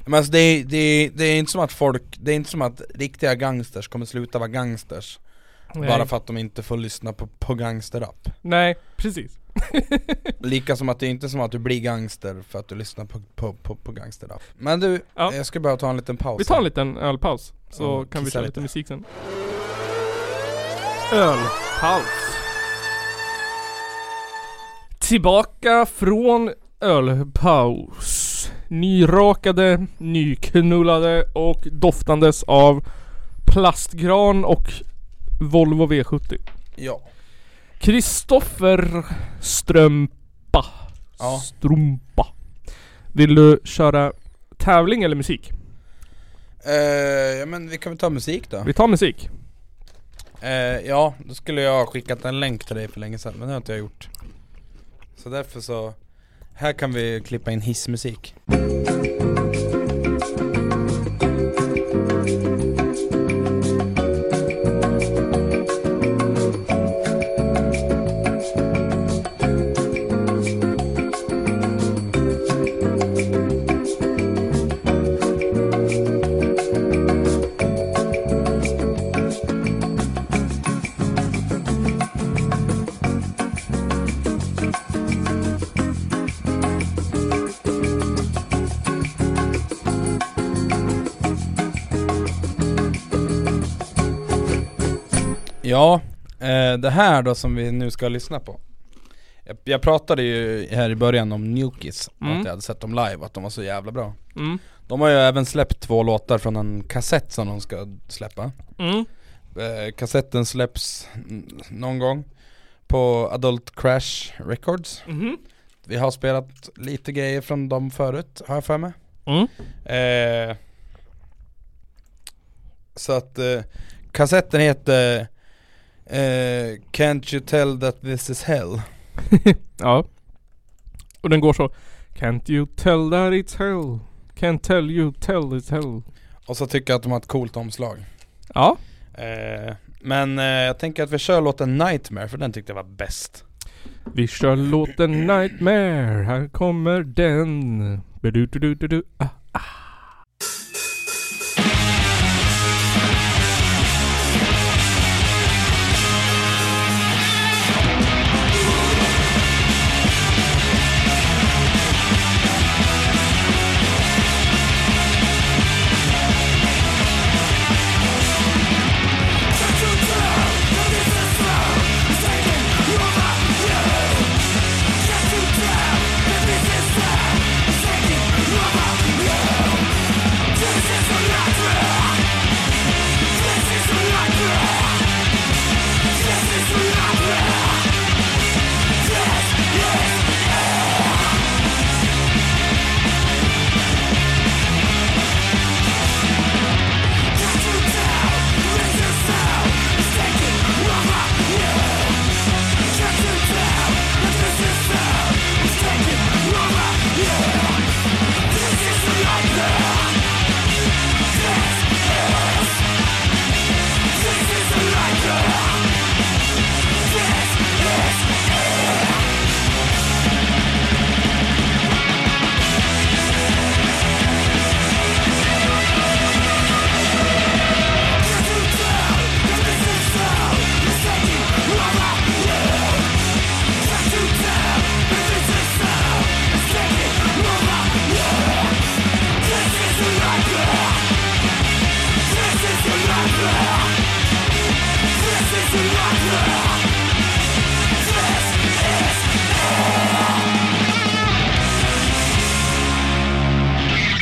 D: men alltså det, är- det, är- det är inte som att folk, det är inte som att riktiga gangsters kommer sluta vara gangsters Bara för att de inte får lyssna på, på gangsterrap
A: Nej, precis.
D: Lika som att det är inte som att du blir gangster för att du lyssnar på, på, på, på gangsterrap Men du,
A: Ja.
D: jag ska bara ta en liten paus
A: Vi tar en
D: här.
A: liten ölpaus, så
D: Ja,
A: kan vi
D: kissa
A: köra lite
D: lite.
A: musik sen. Ölpaus. Tillbaka från ölpaus. Nyrakade, nyknullade och doftandes av plastgran och Volvo V70.
D: Ja,
A: Kristoffer Strömpa.
D: Ja.
A: Strumpa. Vill du köra tävling eller musik?
D: Eh, ja men vi kan väl ta musik då?
A: Vi tar musik.
D: Eh, ja, då skulle jag ha skickat en länk till dig för länge sedan men det har inte jag gjort Så därför så, här kan vi klippa in hissmusik Ja, eh, det här då som vi nu ska lyssna på jag, jag pratade ju här i början om Newkids,
A: Mm.
D: att jag hade sett dem live, att de var så jävla bra
A: Mm.
D: De har ju även släppt två låtar från en kassett som de ska släppa
A: Mm.
D: eh, Kassetten släpps n- någon gång på Adult Crash Records
A: Mhm.
D: Vi har spelat lite grejer från dem förut, har jag för mig
A: Mm.
D: eh, Så att eh, kassetten heter eh, Can't you tell that this is hell?
A: Ja. Och den går så. Can't you tell that it's hell? Can't tell you tell it's hell.
D: Och så tycker jag att de har ett coolt omslag
A: Ja.
D: eh, Men eh, jag tänker att vi kör låten Nightmare för den tyckte jag var bäst
A: Vi kör låten Nightmare. Här kommer den. Ba-du-du-du-du-du. Ah.
G: Yeah.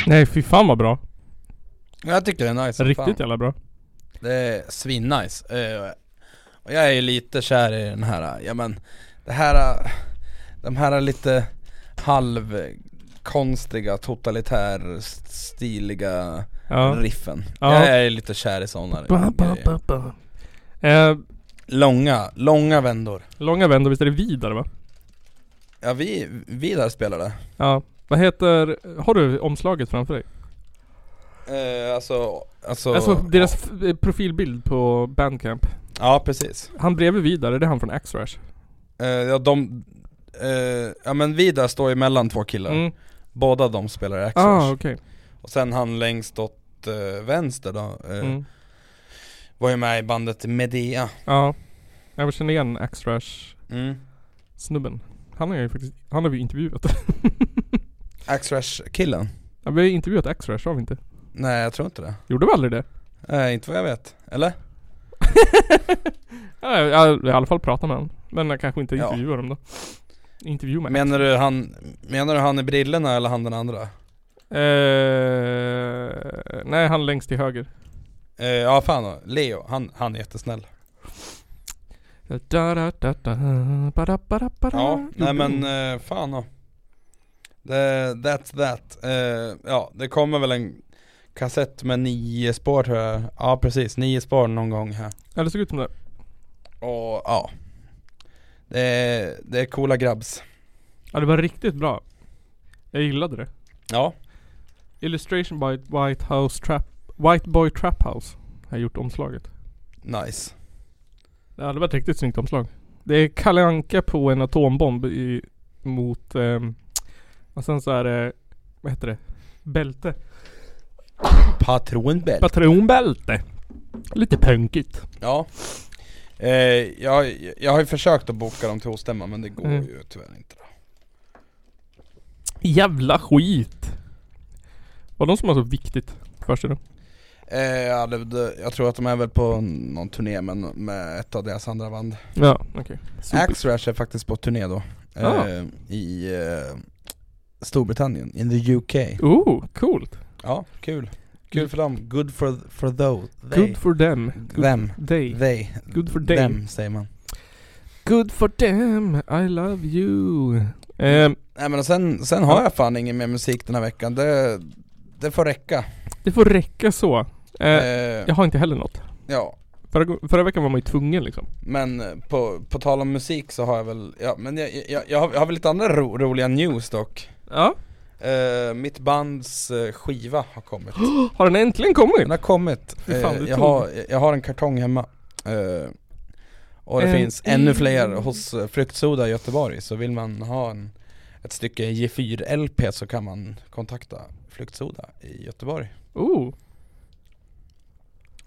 A: Nej fy fan vad bra.
D: Jag tycker det är nice som
A: Riktigt
D: fan.
A: jävla bra.
D: Det är svinnice. Eh, Och jag är ju lite kär i den här, ja men det här, eh, de här lite halvkonstiga, totalitär, stiliga
A: Ja.
D: riffen.
A: Ja.
D: Jag är lite kär i sådana
A: Ba, ba, ba, ba. Eh,
D: Långa, långa vändor.
A: långa vändor, visst är det vidare va?
D: Ja vi, Vidar spelar det.
A: Ja. Vad heter, har du omslaget framför dig?
D: Eh, alltså, alltså,
A: Alltså deras f- eh, profilbild på Bandcamp.
D: Ja precis.
A: Han bredvid vidare, det är han från Axrash.
D: Eh, ja de, eh, ja men Vidar står ju mellan två killar.
A: Mm.
D: Båda de spelar Axxash.
A: Ah okej.
D: Och sen han längst åt eh, vänster då, eh,
A: Mm.
D: var ju med i bandet Medea.
A: Ja. Jag känner igen Axrash
D: Mm.
A: snubben. Han har ju faktiskt, han har vi intervjuat.
D: Axrash-killen?
A: ja, vi har ju intervjuat Axrash har vi inte?
D: Nej jag tror inte det.
A: Gjorde vi aldrig det?
D: Eh, inte vad jag vet.
A: Oh
D: Eller?
A: Ja, jag, jag, har i alla fall pratat med honom. Men jag kanske inte
D: Ja.
A: intervjuar honom då. Intervju med
D: Menar du han, menar du han i brillorna eller han den andra?
A: Eh, nej, han längst till höger.
D: Eh, ja fan då. Leo, han, han är jättesnäll.
A: Da, da, da, da, ba, ba, da, ba, da.
D: Ja, nej men eh, fan då. The, that's that. Eh, ja, det kommer väl en kassett med nio spår tror jag. Ja precis, nio spår någon gång här.
A: Ja, det såg ut som det.
D: Och ja. Det är, det är coola grabbs.
A: Ja, det var riktigt bra. Jag gillade det.
D: Ja.
A: Illustration by White House Trap... White Boy Trap House. Har gjort omslaget.
D: Nice.
A: Det hade varit riktigt snyggt omslag. Det är Kalle Anka på en atombomb i, mot... ehm, och sen så är det... Vad heter det? Bälte.
D: Patronbält.
A: Patronbälte. Lite punkigt.
D: Ja. Eh, jag, jag har ju försökt att boka dem till Ostämman men det går
A: Mm.
D: ju tyvärr inte.
A: Jävla skit. Var de som har så viktigt för sig då?
D: Eh, ja, det, det, jag tror att de är väl på någon turné men med ett av deras andra band.
A: Ja, okej.
D: Axrash är faktiskt på turné då. Eh,
A: Ah.
D: I eh, Storbritannien, in the UK.
A: Oh, coolt.
D: Ja, kul. Kul för dem. Good for, for those. They.
A: Good for them. Good
D: them.
A: They.
D: They.
A: Good for them.
D: Them säger man.
A: Good for them. I love you. Ehm,
D: Nej men och sen, sen har jag fan ingen mer musik den här veckan. Det, det får räcka.
A: det får räcka så. Eh,
D: Eh,
A: jag har inte heller något.
D: ja.
A: Förra, gå- förra veckan var man ju tvungen liksom.
D: Men eh, på, på tal om musik så har jag väl, ja men jag, jag, jag, har, jag har väl lite andra ro, roliga news dock
A: Ja.
D: Eh, Mitt bands eh, skiva har kommit
A: Har den äntligen kommit?
D: Den har kommit,
A: Fy fan,
D: Eh,
A: du
D: jag,
A: tog-
D: har, jag har en kartong hemma Eh, Och det
A: En
D: finns ännu
A: Eh, i-
D: fler hos eh, Fruktsoda i Göteborg, så vill man ha en, ett stycke G4-LP så kan man kontakta Fruktsoda i Göteborg
A: Oh.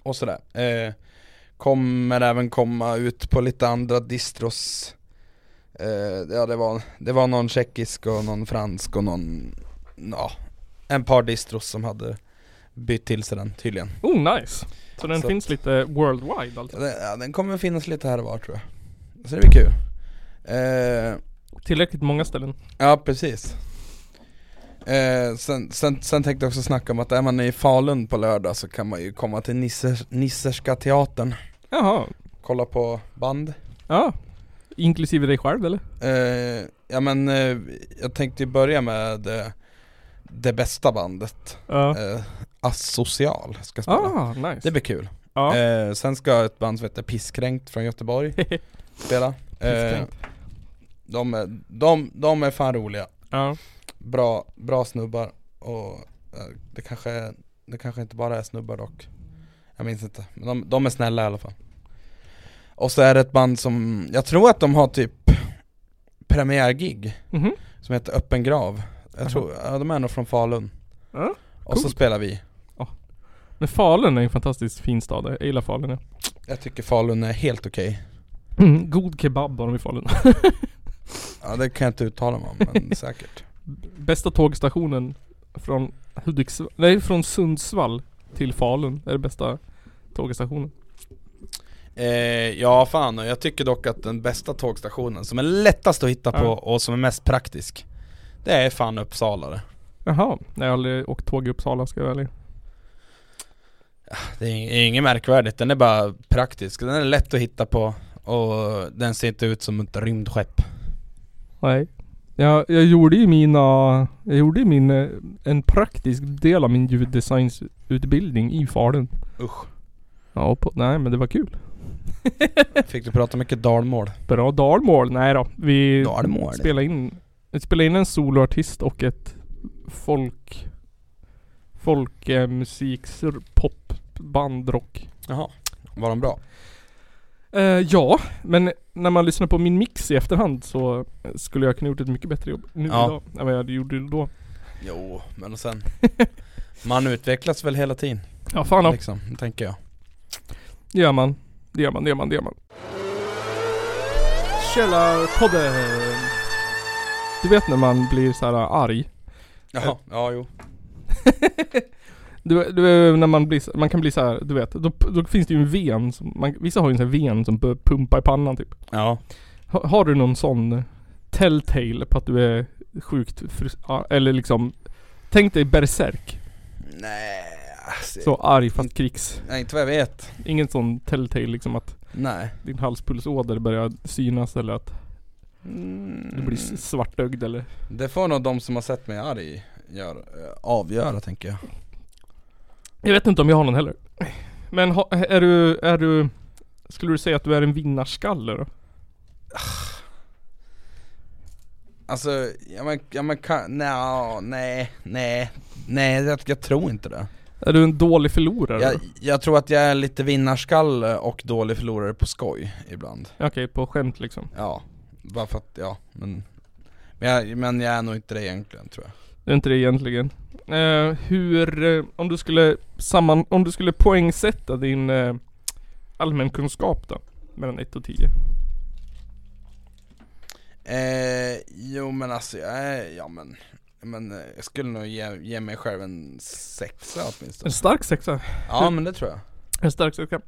D: och sådär eh, Kommer även komma ut på lite andra distros eh, Ja det var, det var någon tjeckisk och någon fransk och någon, ja, en par distros som hade bytt till sig den tydligen
A: Oh, nice. Så den
D: Så
A: finns lite worldwide alltså.
D: ja, den, ja, den kommer finnas lite här och var tror jag Så det blir kul eh,
A: Tillräckligt många ställen.
D: Ja precis eh, sen, sen, sen tänkte jag också snacka om att är man i Falun på lördag så kan man ju komma till Nissers, Nisserska teatern
A: Jaha.
D: Kolla på band
A: Ja. Inklusive dig själv eller?
D: Eh, ja men eh, jag tänkte ju börja med eh, det bästa bandet,
A: Ja.
D: eh, Asocial ska spela.
A: Ah, nice.
D: Det blir kul.
A: ja.
D: Eh, sen ska ett band som heter Pisskränkt från Göteborg spela. Eh,
A: Pisskränkt.
D: de, är, de, de är fan roliga,
A: ja.
D: bra, bra snubbar och eh, det, kanske, är- det kanske inte bara är snubbar dock. Jag minns inte, men de, de är snälla i alla fall. Och så är det ett band som, jag tror att de har typ premiärgig
A: Mhm.
D: som heter Öppen grav Jag tror, ja, de är nog från Falun
A: Ja,
D: Och så
A: coolt.
D: spelar vi
A: Men Falun är en fantastiskt fin stad. Jag gillar Falun. Ja.
D: Jag tycker Falun är helt okej
A: Mm, god kebab har de i Falun.
D: Ja det kan jag inte uttala mig om men säkert
A: Bästa tågstationen från Hudiksvall, nej från Sundsvall till Falun är det bästa tågstationen.
D: eh, Ja fan och jag tycker dock att den bästa tågstationen som är lättast att hitta på
A: Ja.
D: och som är mest praktisk Det är fan Uppsala det
A: Jaha, jag har aldrig åkt tåg i Uppsala ska jag vara ärlig.
D: Det är ing- inget märkvärdigt, den är bara praktisk. Den är lätt att hitta på och den ser inte ut som ett rymdskepp.
A: Nej. Jag, jag gjorde ju mina, jag gjorde ju min, eh, en praktisk del av min ljuddesignsutbildning i Falun.
D: Usch.
A: Ja, på, nej men det var kul.
D: Fick du prata mycket dalmål?
A: Bra dalmål. Nej då. Vi
D: Dalmål?
A: spelade in, vi spelade in en soloartist och ett folk, folkmusiks pop bandrock.
D: Jaha. Var de bra?
A: Eh, ja, men när man lyssnar på min mix i efterhand så skulle jag kunna gjort ett mycket bättre jobb nu
D: Ja.
A: idag än vad jag gjorde då.
D: Jo, men och sen... Man utvecklas väl hela tiden,
A: Ja fan ja.
D: liksom, tänker jag.
A: Det gör man. Det gör man, det gör man, det gör man. Källarpodden. Du vet när man blir så här arg?
D: Jaha, ja jo.
A: Du, du, när man, blir, så- man kan bli så här, du vet, då, då finns det ju en ven som, man, vissa har ju en sån här ven som bör pumpa i pannan typ.
D: Ja.
A: Ha, har du någon sån telltale på att du är sjukt frus- eller liksom, tänk dig berserk.
D: Nej, alltså,
A: Så arg fast krigs.
D: Nej, inte vad jag vet.
A: Ingen sån telltale liksom att
D: Nej.
A: din halspulsåder börjar synas eller att du blir
D: Mm.
A: s- svartögd eller
D: Det får nog de som har sett mig arg gör, eh, avgöra tänker jag.
A: Jag vet inte om jag har någon heller. Men ha, är du, är du Skulle du säga att du är en vinnarskalle då?
D: Alltså, ja men, ja, men kan, nja, nej, nej, nej, jag, jag tror inte det.
A: Är du en dålig förlorare?
D: Jag, jag tror att jag är lite vinnarskalle och dålig förlorare på skoj ibland.
A: Okej, på skämt liksom.
D: Ja, bara för att, ja, men men jag, men jag är nog inte det egentligen tror jag.
A: Det är inte det egentligen. Eh, hur, eh, om du skulle samman, om du skulle poängsätta din eh, allmänkunskap då? Mellan 1 och 10.
D: Eh, jo men alltså jag är, ja men, men eh, jag skulle nog ge, ge mig själv en sexa
A: En
D: åtminstone.
A: stark sexa.
D: Ja men det tror jag.
A: En stark sexa.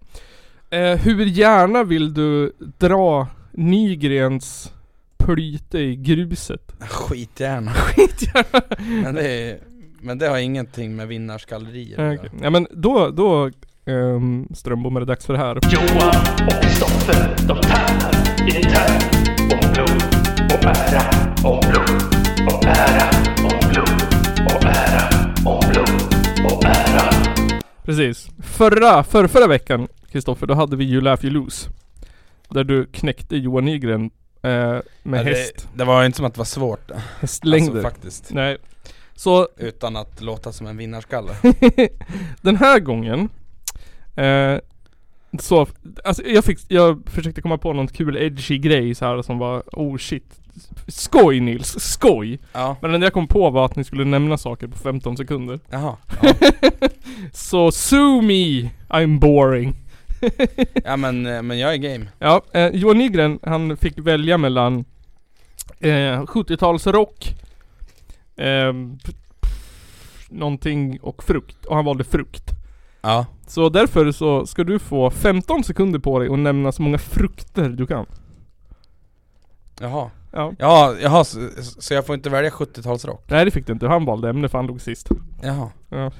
A: Eh, hur gärna vill du dra Nygrens plyte i gruset?
D: Skitgärna. Men det, är, men det har ingenting med vinnarskallerier
A: Ja,
D: att göra.
A: okej. Ja men då, då um, Strömbom är det dags för det här.
G: Johan och Kristoffer, de tävlar i en tävling om blod och ära, om blod och ära, om blod och ära, om blod och ära.
A: Precis. Förra, förra, förra veckan Kristoffer, då hade vi You Laugh You Lose. Där du knäckte Johan Nygren eh, med
D: Ja,
A: häst,
D: Det, det var ju inte som att det var svårt
A: hästlängder.
D: Alltså faktiskt.
A: Nej. Så
D: Utan att låta som en vinnarskalle.
A: den här gången eh, Så, alltså jag fick, jag försökte komma på någon kul edgy grej så här som var oh shit Skoj Nils, skoj!
D: Ja,
A: Men den jag kom på var att ni skulle nämna saker på 15 sekunder
D: jaha. Ja,
A: Så sue me, I'm boring
D: ja men, eh, men jag är game.
A: Ja, eh, Johan Nygren han fick välja mellan eh, 70-talsrock eh, p- p- Någonting och frukt, och han valde frukt
D: Ja.
A: Så därför så ska du få 15 sekunder på dig och nämna så många frukter du kan.
D: Jaha.
A: Ja.
D: Ja, jaha, så, så jag får inte välja 70-talsrock?
A: Nej det fick du inte, han valde ämne för han låg sist.
D: Jaha.
A: Ja.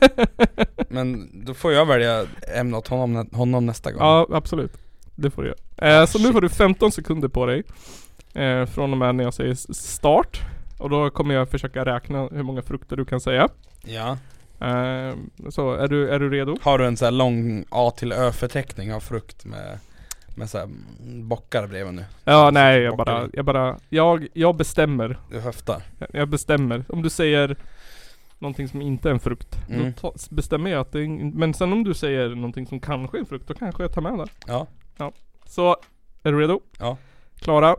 D: Men då får jag välja ämne åt honom, nä- honom nästa gång.
A: ja, absolut. Det får du göra. Eh,
D: Ah,
A: så nu får du 15 sekunder på dig. Eh, från och med när jag säger s- start. Och då kommer jag försöka räkna hur många frukter du kan säga.
D: Ja.
A: Eh, så, är du, är du redo?
D: Har du en sån här lång A till Ö-förteckning av frukt med, med så här mm, bockar bredvid nu?
A: Ja, Eh, nej jag bara, jag bara, jag, jag bestämmer.
D: Du höftar?
A: Jag- Jag bestämmer. Om du säger någonting som inte är en frukt,
D: Mm.
A: då ta, bestämmer jag att det är ing- Men sen om du säger någonting som kanske är en frukt, då kanske jag tar med det.
D: Ja.
A: Så, är du redo?
D: Ja.
A: Klara,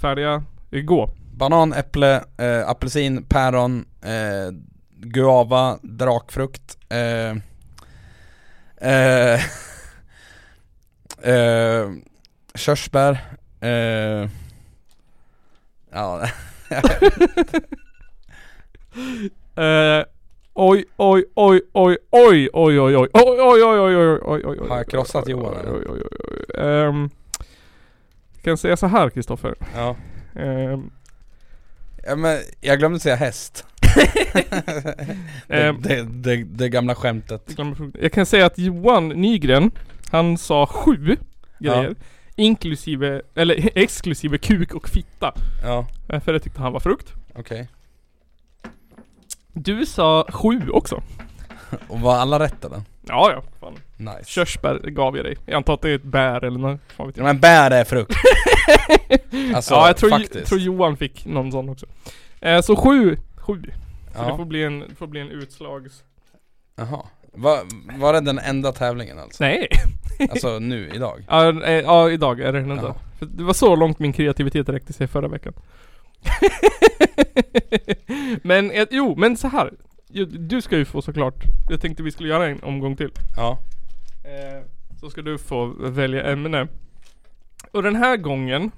A: färdiga, gå.
D: Banan, äpple, eh, apelsin, päron, eh, guava, drakfrukt eh, eh, eh, Körsbär eh, Ja,
A: Eh, Oj, oj, oj, oj, oj, oj, oj, oj, oj, oj, oj, oj, oj, oj, oj, oj,
D: Har jag krossat Johan,
A: Oj,
D: eller?
A: oj, oj, oj, oj. Ehm, Kan jag säga så här Kristoffer?
D: ja.
A: Ehm,
D: ja men jag glömde säga häst Det,
A: Eh,
D: det, det, det gamla skämtet
A: Jag kan säga att Johan Nygren, han sa sju grejer. Inklusive, eller exklusive kuk och fitta.
D: Ja,
A: Eh, För det tyckte han var frukt.
D: okej
A: Du sa sju också.
D: Och var alla rätt eller?
A: Ja, ja. Fan.
D: Nice
A: Körsbär gav jag dig. Jag antar att det är ett bär eller något. Fan vet jag.
D: Men bär är frukt Alltså
A: ja, jag tror,
D: faktiskt
A: tror Johan fick någon sån också. Eh, så sju. Sju. Så det får
D: ja.
A: bli en, det får bli en utslags...
D: Jaha var, var det den enda tävlingen alltså?
A: Nej!
D: Alltså nu, idag?
A: Ja, eh, ja idag är det den enda.
D: Ja.
A: För Det var så långt min kreativitet räckte sig förra veckan. men, eh, jo, men så här. Ju- Du ska ju få såklart, jag tänkte vi skulle göra en omgång till.
D: Ja
A: Eh, Så ska du få välja ämne. Och den här gången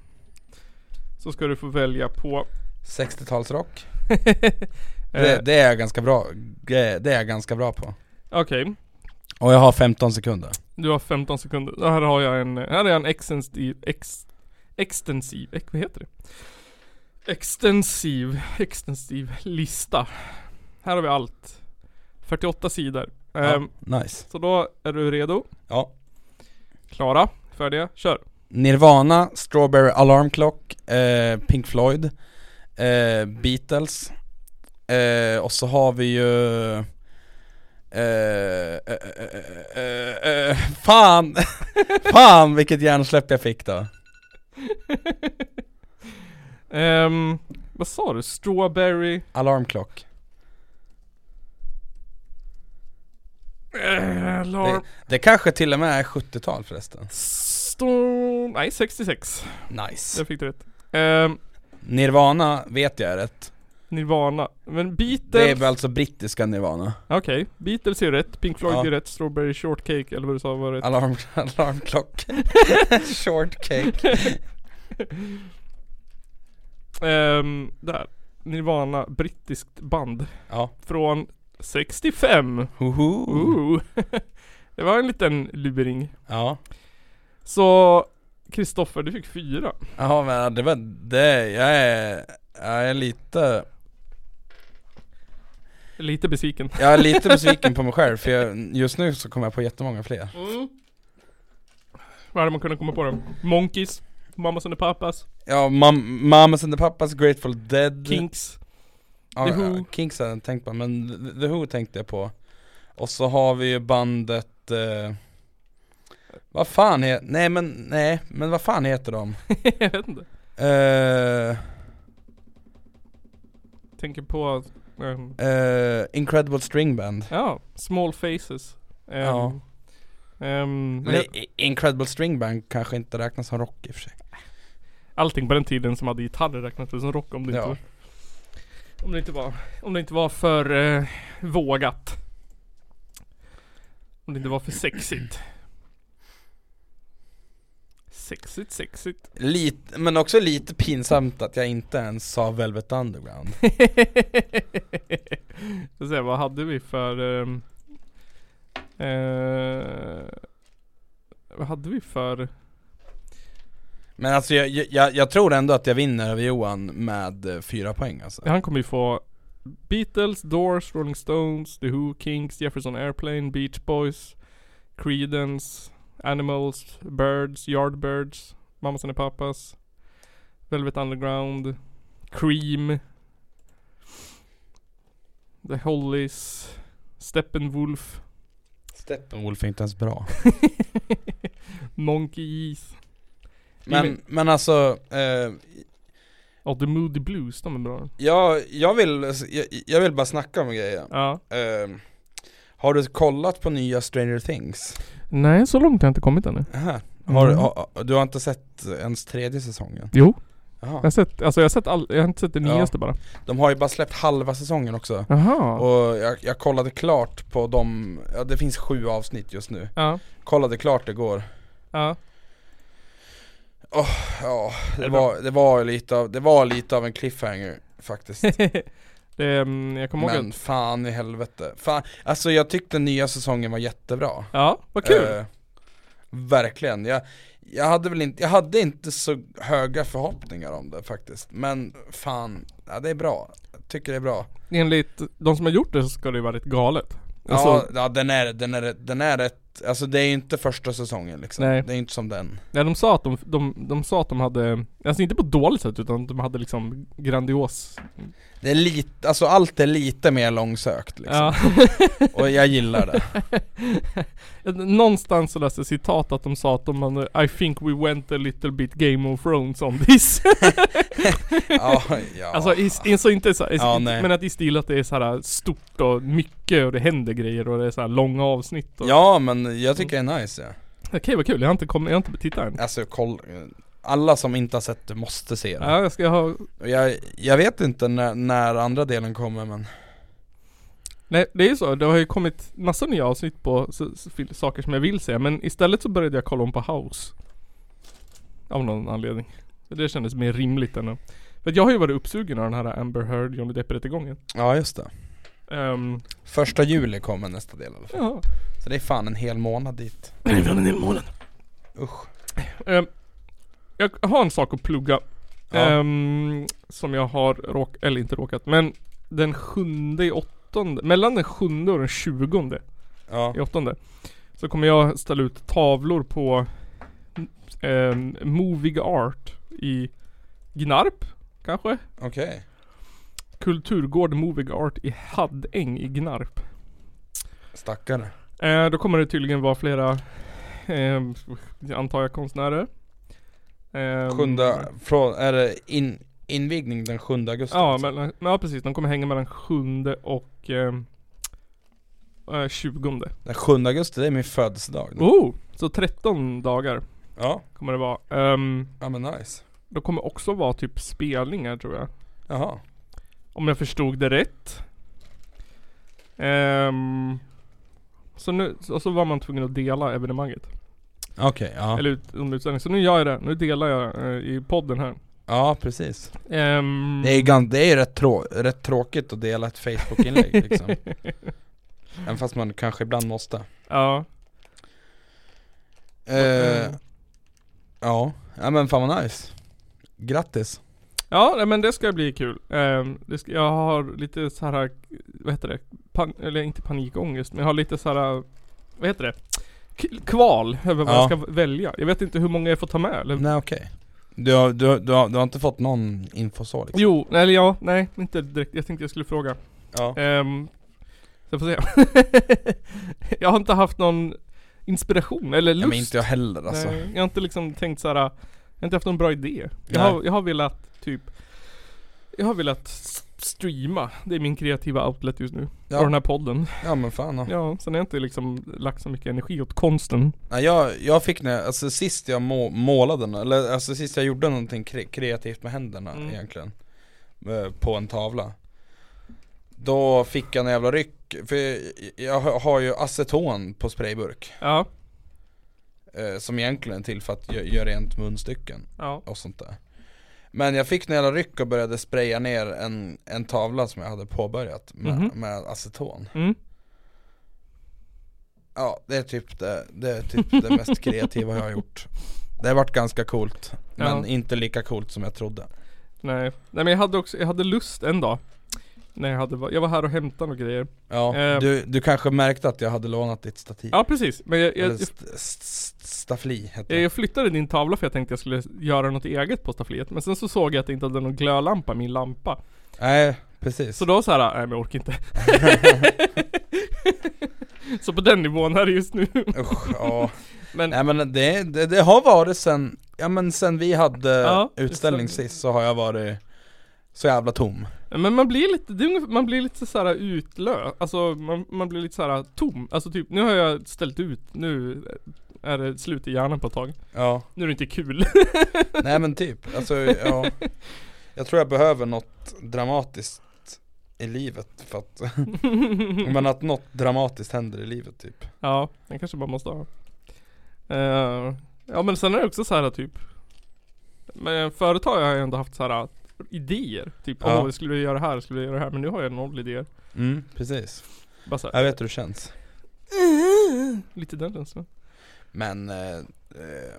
A: så ska du få välja på...
D: 60-talsrock
A: Eh,
D: det, det är jag ganska bra, det, det är jag ganska bra på
A: Okej,
D: Och jag har 15 sekunder
A: du har 15 sekunder. Och Här har jag en, här är en extensiv, ex, extensiv, ex, vad heter det? Extensiv, extensiv lista. Här har vi allt. 48 sidor. Ehm,
D: ja, Nice
A: Så då är du redo,
D: Ja
A: klara, färdiga, kör.
D: Nirvana, Strawberry Alarm Clock, eh, Pink Floyd, eh, Beatles eh, och så har vi ju eh, eh, eh, eh, eh, Fan! fan vilket hjärnsläpp jag fick då
A: Ehm, vad sa du? Strawberry?
D: Alarm Clock
A: Eh,
D: det,
A: alarm.
D: det kanske till och med är 70-tal förresten
A: Storm... Nej, 66.
D: Nice
A: Där fick du rätt. Ehm,
D: Nirvana vet jag är rätt
A: Nirvana. Men
D: Det är
A: Beatles...
D: väl alltså brittiska Nirvana
A: Okej, Beatles är rätt. Pink Floyd
D: Ja.
A: är rätt. Strawberry Shortcake, eller vad du sa var rätt.
D: Alarm, alarm Clock Shortcake
A: Ehm, där. Nirvana, brittiskt band.
D: Ja,
A: Från 65.
D: hoho
A: Ooh. det var en liten luring.
D: Ja
A: Så... Kristoffer, du fick fyra.
D: Ja men det var det, jag är, jag är lite,
A: Lite besviken.
D: jag är lite besviken på mig själv för jag, just nu så kommer jag på jättemånga fler
A: Vad hade man kunnat komma på då? Monkeys, Mamas and the Papas,
D: Ja, mam, Mamas and the Papas, Grateful Dead
A: Kinks.
D: ja,
A: The
D: ja,
A: Who.
D: Kinks hade jag tänkt på, men The- The Who tänkte jag på Och så har vi ju bandet eh, Vad fan heter, nej men, nej, men vad fan heter de?
A: jag vet inte.
D: Eh,
A: Tänker på... ehm,
D: eh, Incredible String Band
A: Ja, small faces. Ehm,
D: Ja.
A: ehm,
D: men I- Incredible String Band kanske inte räknas som rock i och för sig
A: allting på den tiden som hade gitarrer räknades som rock om det,
D: Ja.
A: inte, om det inte var Om det inte var för eh, vågat. Om det inte var för sexigt. Sexigt, sexigt.
D: Lite, men också lite pinsamt att jag inte ens sa Velvet Underground
A: Ska se, vad hade vi för... ehm, eh, vad hade vi för...
D: Men alltså jag, jag- jag, jag tror ändå att jag vinner över Johan med eh, fyra poäng alltså
A: Han kommer ju få Beatles, Doors, Rolling Stones, The Who, Kinks, Jefferson Airplane, Beach Boys, Creedence, Animals, Birds, Yardbirds, Mamas and the Papas, Velvet Underground, Cream, The Hollies, Steppenwolf,
D: Steppenwolf är inte ens bra
A: Monkeys
D: Men, men alltså, eh,
A: och The Moody Blues, de är bra.
D: jag, jag, vill, jag, jag vill bara snacka om grejer
A: Ja.
D: eh, Har du kollat på nya Stranger Things?
A: Nej, så långt har jag inte kommit ännu.
D: Aha. Har,
A: Mm.
D: har, du har inte sett ens tredje säsongen?
A: Jo, jag har
D: Aha.
A: sett, alltså jag har sett all, jag har inte sett det
D: Ja.
A: nyaste bara.
D: De har ju bara släppt halva säsongen också
A: Aha.
D: Och jag, jag kollade klart på de, ja, det finns sju avsnitt just nu
A: ja.
D: Kollade klart igår
A: Ja.
D: Ja, det
A: det
D: var, det var lite av, det var lite av en cliffhanger faktiskt
A: det, mm, jag kommer ihåg
D: Men
A: att,
D: fan i helvete, fan, alltså jag tyckte nya säsongen var jättebra
A: Ja, vad kul!
D: Eh, Verkligen, jag, Jag hade väl inte, jag hade inte så höga förhoppningar om det faktiskt Men fan, ja, det är bra Jag tycker det är bra
A: Enligt de som har gjort det så ska det ju vara rätt galet. Alltså,
D: Ja, ja den, är, den, är, den är rätt, alltså det är ju inte första säsongen liksom
A: Nej.
D: Det är inte som den
A: nej, de sa att de, de, de sa att de hade, alltså inte på ett dåligt sätt utan de hade liksom grandios,
D: Det är lite, alltså allt är lite mer långsökt liksom
A: ja.
D: Och jag gillar det
A: Någonstans så läste jag citat att de sa att de hade, I think we went a little bit Game of Thrones on this.
D: Ja, ja
A: alltså i, i, så inte så,
D: Ja, nej.
A: men att i stil att det är så här stort och mycket och det händer grejer och det är så här långa avsnitt och
D: Ja men jag tycker det är nice ja.
A: Okej vad kul, jag har inte kommit, jag har inte tittat än.
D: Alltså koll, alla som inte har sett det måste se det
A: Ja, jag ska ha,
D: Och jag, jag vet inte när, när andra delen kommer men
A: nej det är ju så, det har ju kommit massa nya avsnitt på s- s- fil- saker som jag vill se men istället så började jag kolla om på House. Av någon anledning. Det kändes mer rimligt än att- För att jag har ju varit uppsugen av den här Amber Heard, Johnny Depp rättegången.
D: Ja just det
A: Um,
D: Första juli kommer nästa del i alla fall.
A: ja.
D: Så det är fan en hel månad dit
A: Ibland en hel månad.
D: Usch
A: Ehm, jag har en sak att plugga.
D: Ja.
A: Ehm, som jag har råkat, eller inte råkat, men den sjunde i åttonde, mellan den sjunde och den tjugonde
D: Ja,
A: i åttonde. Så kommer jag ställa ut tavlor på um, Moving Art i Gnarp, kanske?
D: okej
A: Kulturgård Moving Art i Haddäng i Gnarp.
D: Stackare
A: Eh, då kommer det tydligen vara flera, ehm, antar jag, konstnärer. Ehm,
D: Sjunde, från, är det in, invigning den 7 augusti?
A: Ja,
D: alltså?
A: mellan, men ja precis. De kommer hänga mellan 7 och ehm, eh, 20.
D: Den 7 augusti, det är min födelsedag
A: Oh! Så 13 dagar
D: Ja,
A: kommer det vara. Um,
D: ja men nice
A: det kommer också vara typ spelningar tror jag.
D: Jaha
A: Om jag förstod det rätt. Ehm, så nu, och så var man tvungen att dela evenemanget.
D: Okej, ja
A: Eller ut, under utställningen. Så nu gör jag det. Nu delar jag eh, i podden här.
D: Ja precis
A: Ehm,
D: Det är ju gan- det är ju rätt, trå- rätt tråkigt att dela ett Facebook-inlägg liksom Även fast man kanske ibland måste
A: Ja.
D: eh, Ja, ja men fan vad nice Grattis
A: Ja, nej, men det ska bli kul. Ehm, det ska, jag har lite så här, vad heter det? Pan, eller inte panikångest, men jag har lite så här, vad heter det? K- kval över vad
D: Ja.
A: jag ska välja. Jag vet inte hur många jag får ta med eller?
D: Nej okej du, har, du, har- du, har, du har inte fått någon info så liksom?
A: Jo, eller ja, nej, inte direkt. Jag tänkte jag skulle fråga.
D: Ja,
A: Um, så jag får se. jag har inte haft någon inspiration eller lust.
D: ja men inte jag heller alltså
A: Nej, jag har inte liksom tänkt såhär, jag har inte haft någon bra idé. Jag
D: Nej.
A: har, jag har velat typ, jag har velat s- streama. Det är min kreativa outlet just nu.
D: Ja.
A: Och den här podden.
D: Ja men fan ja.
A: Ja, sen har jag inte liksom lagt så mycket energi åt konsten.
D: Nej, jag, jag fick när, alltså sist jag må, målade, nå- eller alltså sist jag gjorde någonting kre, kreativt med händerna
A: Mm.
D: egentligen eh, På en tavla Då fick jag en jävla ryck, för jag, jag har ju aceton på sprayburk
A: Ja,
D: eh, Som egentligen är till för att gö- göra rent munstycken
A: ja.
D: och sånt där Men jag fick en jävla ryck och började spraya ner en, en tavla som jag hade påbörjat med,
A: Mhm.
D: med aceton
A: Mm.
D: Ja, det är typ det, det, är typ det mest kreativa jag har gjort Det har varit ganska coolt, men
A: Ja.
D: inte lika coolt som jag trodde
A: Nej. Nej men jag hade också, jag hade lust en dag. När jag hade, va- jag var här och hämtade och grejer.
D: Ja,
A: Eh.
D: du, du kanske märkte att jag hade lånat ditt stativ?
A: Ja precis, men jag,
D: Eller
A: jag,
D: st- st- st- Staffli hette
A: jag,
D: det
A: Eh, jag flyttade din tavla för jag tänkte jag skulle göra något eget på staffliet. Men sen så såg jag att jag inte hade någon glödlampa i min lampa.
D: Nej, precis
A: Så då så här, nej men jag orkar inte. så på den nivån här just nu.
D: Usch, ja
A: Men
D: Nej men det, det, det har varit sen, ja men sen vi hade
A: Ja,
D: utställning
A: sen-
D: sist så har jag varit så jävla tom
A: Men man blir lite, det är ungefär, man blir lite såhär utlö, alltså man, man blir lite såhär tom. Alltså typ, nu har jag ställt ut, nu är det slut i hjärnan på ett tag.
D: Ja,
A: Nu är det inte kul.
D: nej men typ, alltså ja Jag tror jag behöver något dramatiskt i livet för att Men att något dramatiskt händer i livet typ
A: ja, den kanske man måste ha. Eh, ja men sen är det också så här typ, men förut har jag ändå haft så här äh, idéer. Typ,
D: Ja.
A: åh vi skulle göra det här, skulle vi göra det här. Men nu har jag noll idéer.
D: Mm, precis Äh.
A: Bara så här,
D: Jag vet hur det känns
A: lite den känslan.
D: Men eh, eh,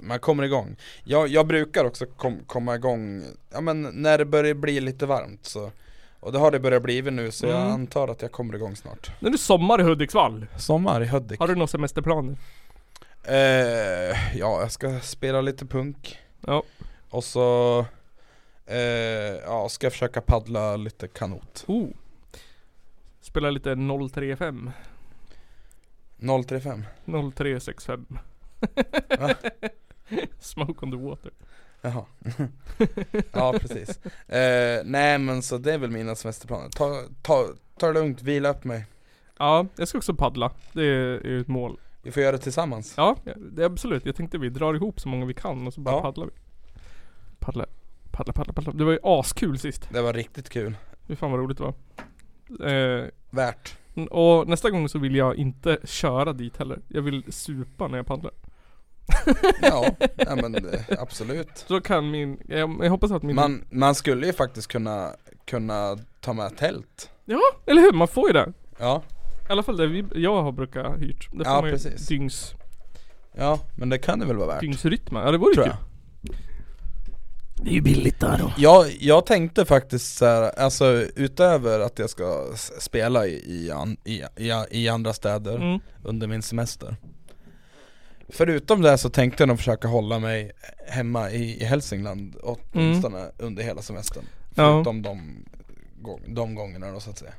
D: man kommer igång Jag, jag brukar också kom, komma igång, ja men när det börjar bli lite varmt så Och det har det börjat bli nu så jag
A: Mm.
D: antar att jag kommer igång snart
A: Nu är det sommar i Hudiksvall.
D: Sommar i Hudik
A: Har du några semesterplaner?
D: eh, Ja, jag ska spela lite punk
A: Ja.
D: Och så eh, ja, ska jag försöka paddla lite kanot
A: Oh. Spela lite 035.
D: 035
A: 0365.
D: Va?
A: Smoke on the water.
D: Jaha Ja precis eh, Nej men så det är väl mina semesterplaner Ta, ta, ta det lugnt, vila upp mig
A: Ja, jag ska också paddla. Det är ju ett mål.
D: Vi får göra det tillsammans
A: Ja, det är absolut. Jag tänkte vi drar ihop så många vi kan och så bara
D: Ja.
A: paddlar vi. Paddla, paddla, paddla, paddla. Det var ju askul sist.
D: Det var riktigt kul
A: Fy fan vad roligt det var. Eh,
D: Värt
A: och nästa gång så vill jag inte köra dit heller. Jag vill supa när jag paddlar.
D: Ja, ja men eh, absolut
A: Så kan min, jag, jag hoppas att min
D: man, man skulle ju faktiskt kunna, kunna ta med tält
A: Ja, eller hur? Man får ju det.
D: Ja,
A: I alla fall det vi, jag har brukat hyrt. Det får
D: Ja,
A: man ju
D: precis.
A: Dygns,
D: ja men det kan det väl vara värt
A: dygnsrytma. Ja det vore ju
D: Tror
A: kul.
D: jag
A: Det är ju billigt där då.
D: Jag, jag tänkte faktiskt så här, alltså utöver att jag ska s- spela i, i, an, i, i, i andra städer
A: Mm.
D: under min semester Förutom det så tänkte jag nog försöka hålla mig hemma i, i Hälsingland åtminstone under hela semestern
A: Mm. Ja.
D: Förutom de, gång, de gångerna då så att säga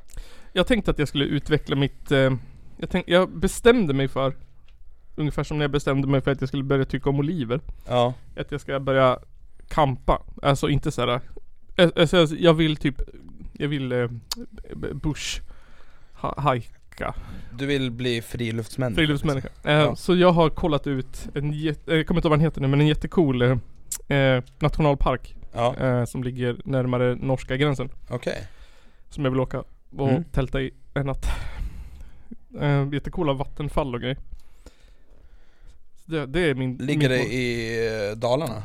A: Jag tänkte att jag skulle utveckla mitt eh, jag, tänk, jag bestämde mig för Ungefär som när jag bestämde mig för att jag skulle börja tycka om oliver
D: Ja,
A: Att jag ska börja kampa Alltså inte såhär alltså, jag- Jag vill typ Jag vill eh, b- bush ha- Hajka
D: du vill bli friluftsmänniska
A: Friluftsmänniska eh,
D: Mm, Ja.
A: Så jag har kollat ut en jätte, jag kommer inte ihåg vad den heter nu men en jättecool eh, eh, Nationalpark
D: liksom. Ja,
A: eh, Som ligger närmare norska gränsen
D: okej
A: Som jag vill åka och
D: Mm.
A: tälta i en natt. Eh, jättecoola vattenfall och grejer. Så det, det är min... min
D: Ligger det i eh, Dalarna?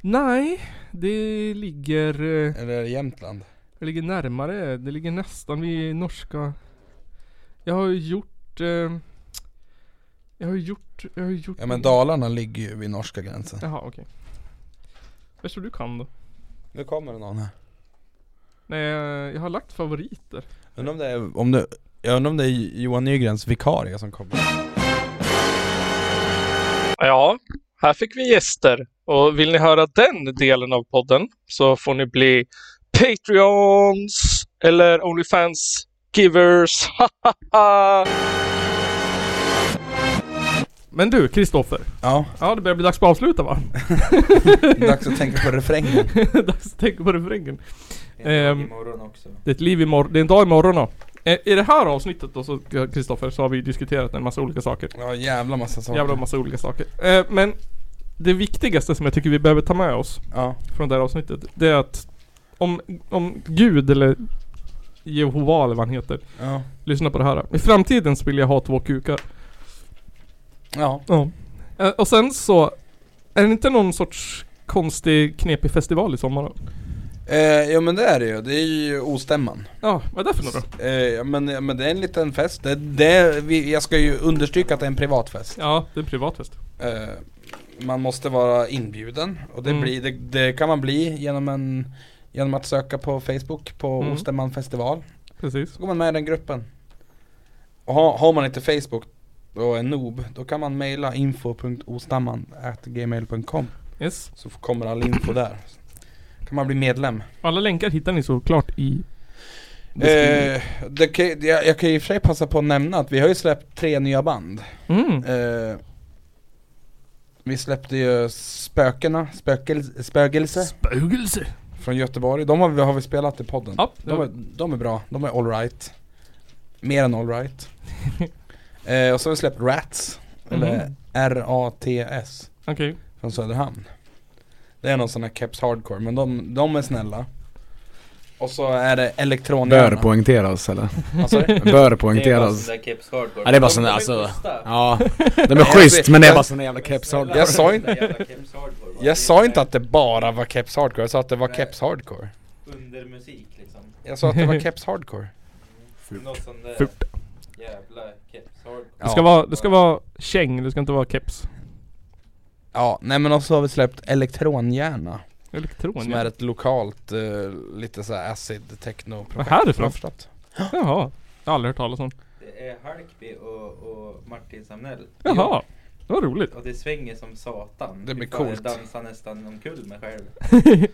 A: Nej, det ligger... eh,
D: Eller Jämtland?
A: Det ligger närmare. Det ligger nästan vid norska... Jag har ju gjort... Eh, jag har ju gjort... Jag har ju gjort...
D: Ja men Dalarna ligger ju vid norska gränsen
A: Jaha, okej. Jag tror du kan då.
D: Nu kommer det någon här
A: Nej, eh, jag har lagt favoriter.
D: Undrar om det är, om det, jag undrar om det är Johan Nygrens vikarie som kommer
G: Ja, här fick vi gäster. Och vill ni höra den delen av podden så får ni bli Patreons eller Onlyfans givers.
A: Men du, Kristoffer.
D: Ja,
A: Ja, det börjar bli dags på att avsluta va?
D: dags att tänka på refrängen
A: dags att tänka på refrängen. Ehm, Det är ett liv imorgon, det är en dag imorgon då. Eh, I det här avsnittet då så, Kristoffer, så har vi diskuterat en massa olika saker.
D: Ja jävla massa saker
A: Jävla massa olika saker. Eh, Men det viktigaste som jag tycker vi behöver ta med oss
D: Ja,
A: från det här avsnittet, det är att om, om Gud eller Jehova eller vad han heter,
D: ja,
A: lyssna på det här. I framtiden så vill jag ha två kukar.
D: ja
A: Ja. Eh, Och sen så, är det inte någon sorts konstig, knepig festival i sommar då?
D: eh, Jo men det är det ju, det är ju Ostämman
A: Ja, vad är det för något då?
D: eh, ja, men, ja, men det är en liten fest, det, det, vi, jag ska ju understryka att det är en privat fest
A: Ja, det är en privat fest.
D: eh, Man måste vara inbjuden och det,
A: Mm.
D: blir, det, det kan man bli genom en Genom att söka på Facebook på
A: Mm.
D: Ostämman festival
A: Precis.
D: Så går man med i den gruppen. Och har, har man inte Facebook och är noob, då kan man mejla info.ostamman.gmail.com
A: Yes.
D: Så f- kommer all info där. Kan man bli medlem.
A: Alla länkar hittar ni såklart i beskrivningen.
D: Eh, det kan, jag, jag kan i och för sig passa på att nämna att vi har ju släppt tre nya band.
A: mm.
D: Eh, vi släppte ju Spökena, Spökel, Spögelse
A: Spögelse.
D: från Göteborg. De har vi, har vi spelat i podden.
A: Ja, det
D: De
A: var-
D: är, de är bra, de är alright Mer än alright eh, Och så har vi släppt Rats Eller
A: Mhm.
D: R-A-T-S
A: okej.
D: Från Söderhamn Det är någon sån här Keps Hardcore men de, de är snälla Och så är det
H: Bör
D: Elektronhjärna
H: poängteras eller?
D: Vad sa du?
H: Bör poängteras. Ja det är bara sån där alltså. Ja. De är
D: Ja, jag
H: schysst
D: vet.
H: men det är bara sån där jävla keps hardcore.
D: jag sa, in, jag sa inte att det bara var Keps Hardcore, jag sa att det var Keps Hardcore
I: Under musik liksom.
D: Jag sa att det var Keps Hardcore
I: Något sån där
A: Fult.
I: jävla keps hardcore.
A: Det ska vara, det ska vara käng, det ska inte vara keps.
D: Ja, nej men också har vi släppt Elektronhjärna
A: Elektron,
D: Som
A: ja.
D: är ett lokalt, eh, lite såhär acid techno projekt
A: Vad härifrån?
D: Förstått.
A: Jaha. Jag har aldrig hört talas om.
I: Det är Halkby och, och Martin Samnell.
A: Jaha. Det var roligt.
I: Och det svänger som satan.
D: Det blir
I: Fy fan,
D: coolt.
I: Jag dansar nästan omkull mig själv.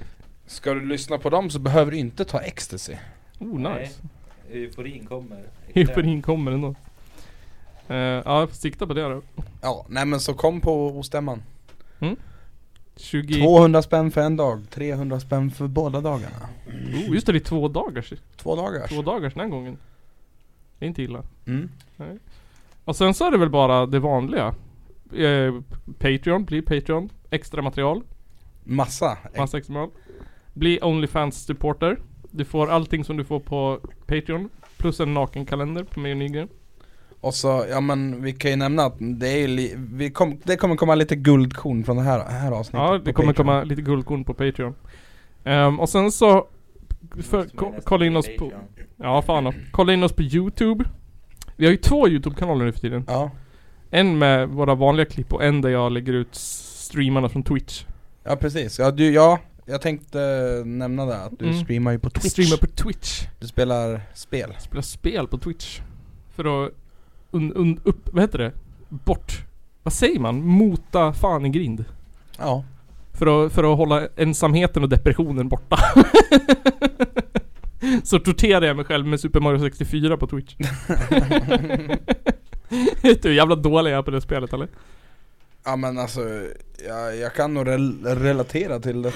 D: Ska du lyssna på dem så behöver du inte ta ecstasy
A: Oh
I: Nej.
A: nice.
I: Euforin kommer.
A: Euforin kommer ändå. Eh, ja, jag får sikta på det då.
D: Ja, nej men så kom på ostämman
A: 20...
D: 200 spänn för en dag, 300 spänn för båda dagarna
A: Oh, just det, det är två dagars.
D: Två dagars
A: Två dagars den här gången. Det är inte illa.
D: mm.
A: Och sen så är det väl bara det vanliga. Eh, Patreon, bli Patreon. Extra material.
D: Massa,
A: Massa extra material. Bli Onlyfans supporter. Du får allting som du får på Patreon. Plus en nakenkalender på mig och Nygren.
D: Och så, ja men vi kan ju nämna att det, är li- vi kom, det kommer komma lite guldkorn från det här, här avsnittet
A: Ja,
D: på
A: det kommer
D: Patreon.
A: komma lite guldkorn på Patreon. Ehm, och sen så... För,
I: Måste man
A: ko-
I: nästan
A: kolla in
I: bli
A: oss på...
I: Patreon.
A: Ja, fan då. Kolla in oss på Youtube. Vi har ju två Youtube-kanaler nu för tiden.
D: Ja,
A: En med våra vanliga klipp och en där jag lägger ut s- streamarna från Twitch.
D: ja precis, ja, du, ja jag tänkte nämna det att du
A: Mm.
D: streamar ju på Twitch
A: Streamar på Twitch.
D: Du spelar spel
A: Spela spel på Twitch. För att... Un, un, upp... Vad heter det? Bort. Vad säger man? Mota fan i grind.
D: Ja
A: För att, för att hålla ensamheten och depressionen borta. Så torterar jag mig själv med Super Mario 64 på Twitch. Vet du hur jävla dålig jag är på det spelet eller?
D: Ja men alltså, jag, jag kan nog rel- relatera till det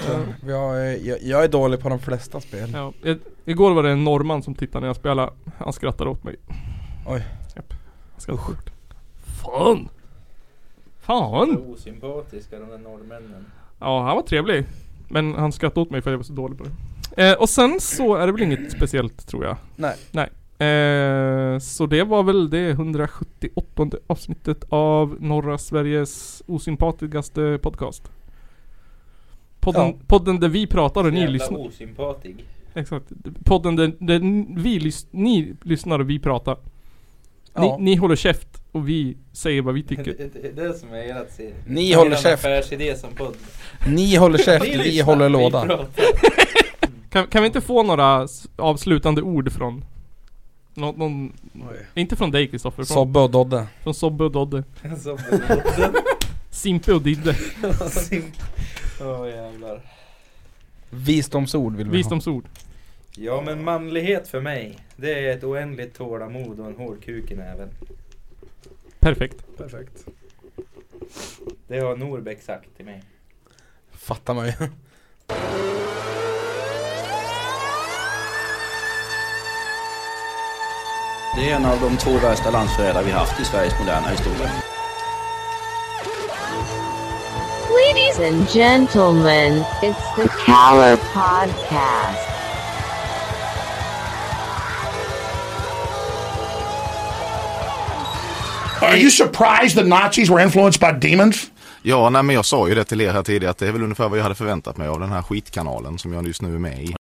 D: jag, är- jag, jag är dålig på de flesta spel
A: Ja, jag, igår var det en norrman som tittade när jag spelade. Han skrattade åt mig.
D: Oj.
A: Japp. Han skrattade sjukt. Fan! Fan!
I: Vad Osympatiska de där norrmännen.
A: Ja, han var trevlig. Men han skrattade åt mig för att jag var så dålig på det. Eh, och sen så är det väl inget speciellt tror jag.
D: Nej.
A: Nej. Eh, så det var väl det 178 avsnittet av norra Sveriges osympatiskaste podcast. Podden,
D: Ja.
A: podden där vi pratar och ni
I: Jävla
A: lyssnar.
I: osympatig.
A: Exakt. Podden där, där vi lys- ni lyssnar och vi pratar.
D: Ja.
A: Ni, ni håller käft och vi säger vad vi
I: Det,
A: tycker.
I: det, det är det som är ert se-
D: Ni
I: er
D: håller käft.
I: affärsidé som podd.
D: Ni håller käft,
I: Ni
D: vi
I: lyssnar,
D: håller
I: vi
D: låda
I: pratar.
A: Kan, kan vi inte få några s- avslutande ord från nå, någon, inte från dig Kristoffer, från,
D: Sobbe och Dodde
A: från Sobbe och Dodde.
I: Som podden.
A: Simpe och Didde.
I: Åh jävlar.
D: Visdomsord vill vi ha
A: Visdomsord.
I: Ja men manlighet för mig, det är ett oändligt tålamod och en hård kuk i näven.
A: Perfekt.
D: Perfekt
I: Det har Norbeck sagt till mig.
D: Fattar man ju
B: Det är en av de två värsta landsförrädare vi haft i Sveriges moderna historia.
J: Ladies and gentlemen, it's the Caller Podcast.
G: Are you surprised the Nazis were influenced by demons?
K: Ja, nej, men jag sa ju det till er här tidigare att det är väl ungefär vad jag hade förväntat mig av den här skitkanalen som jag just nu är med i.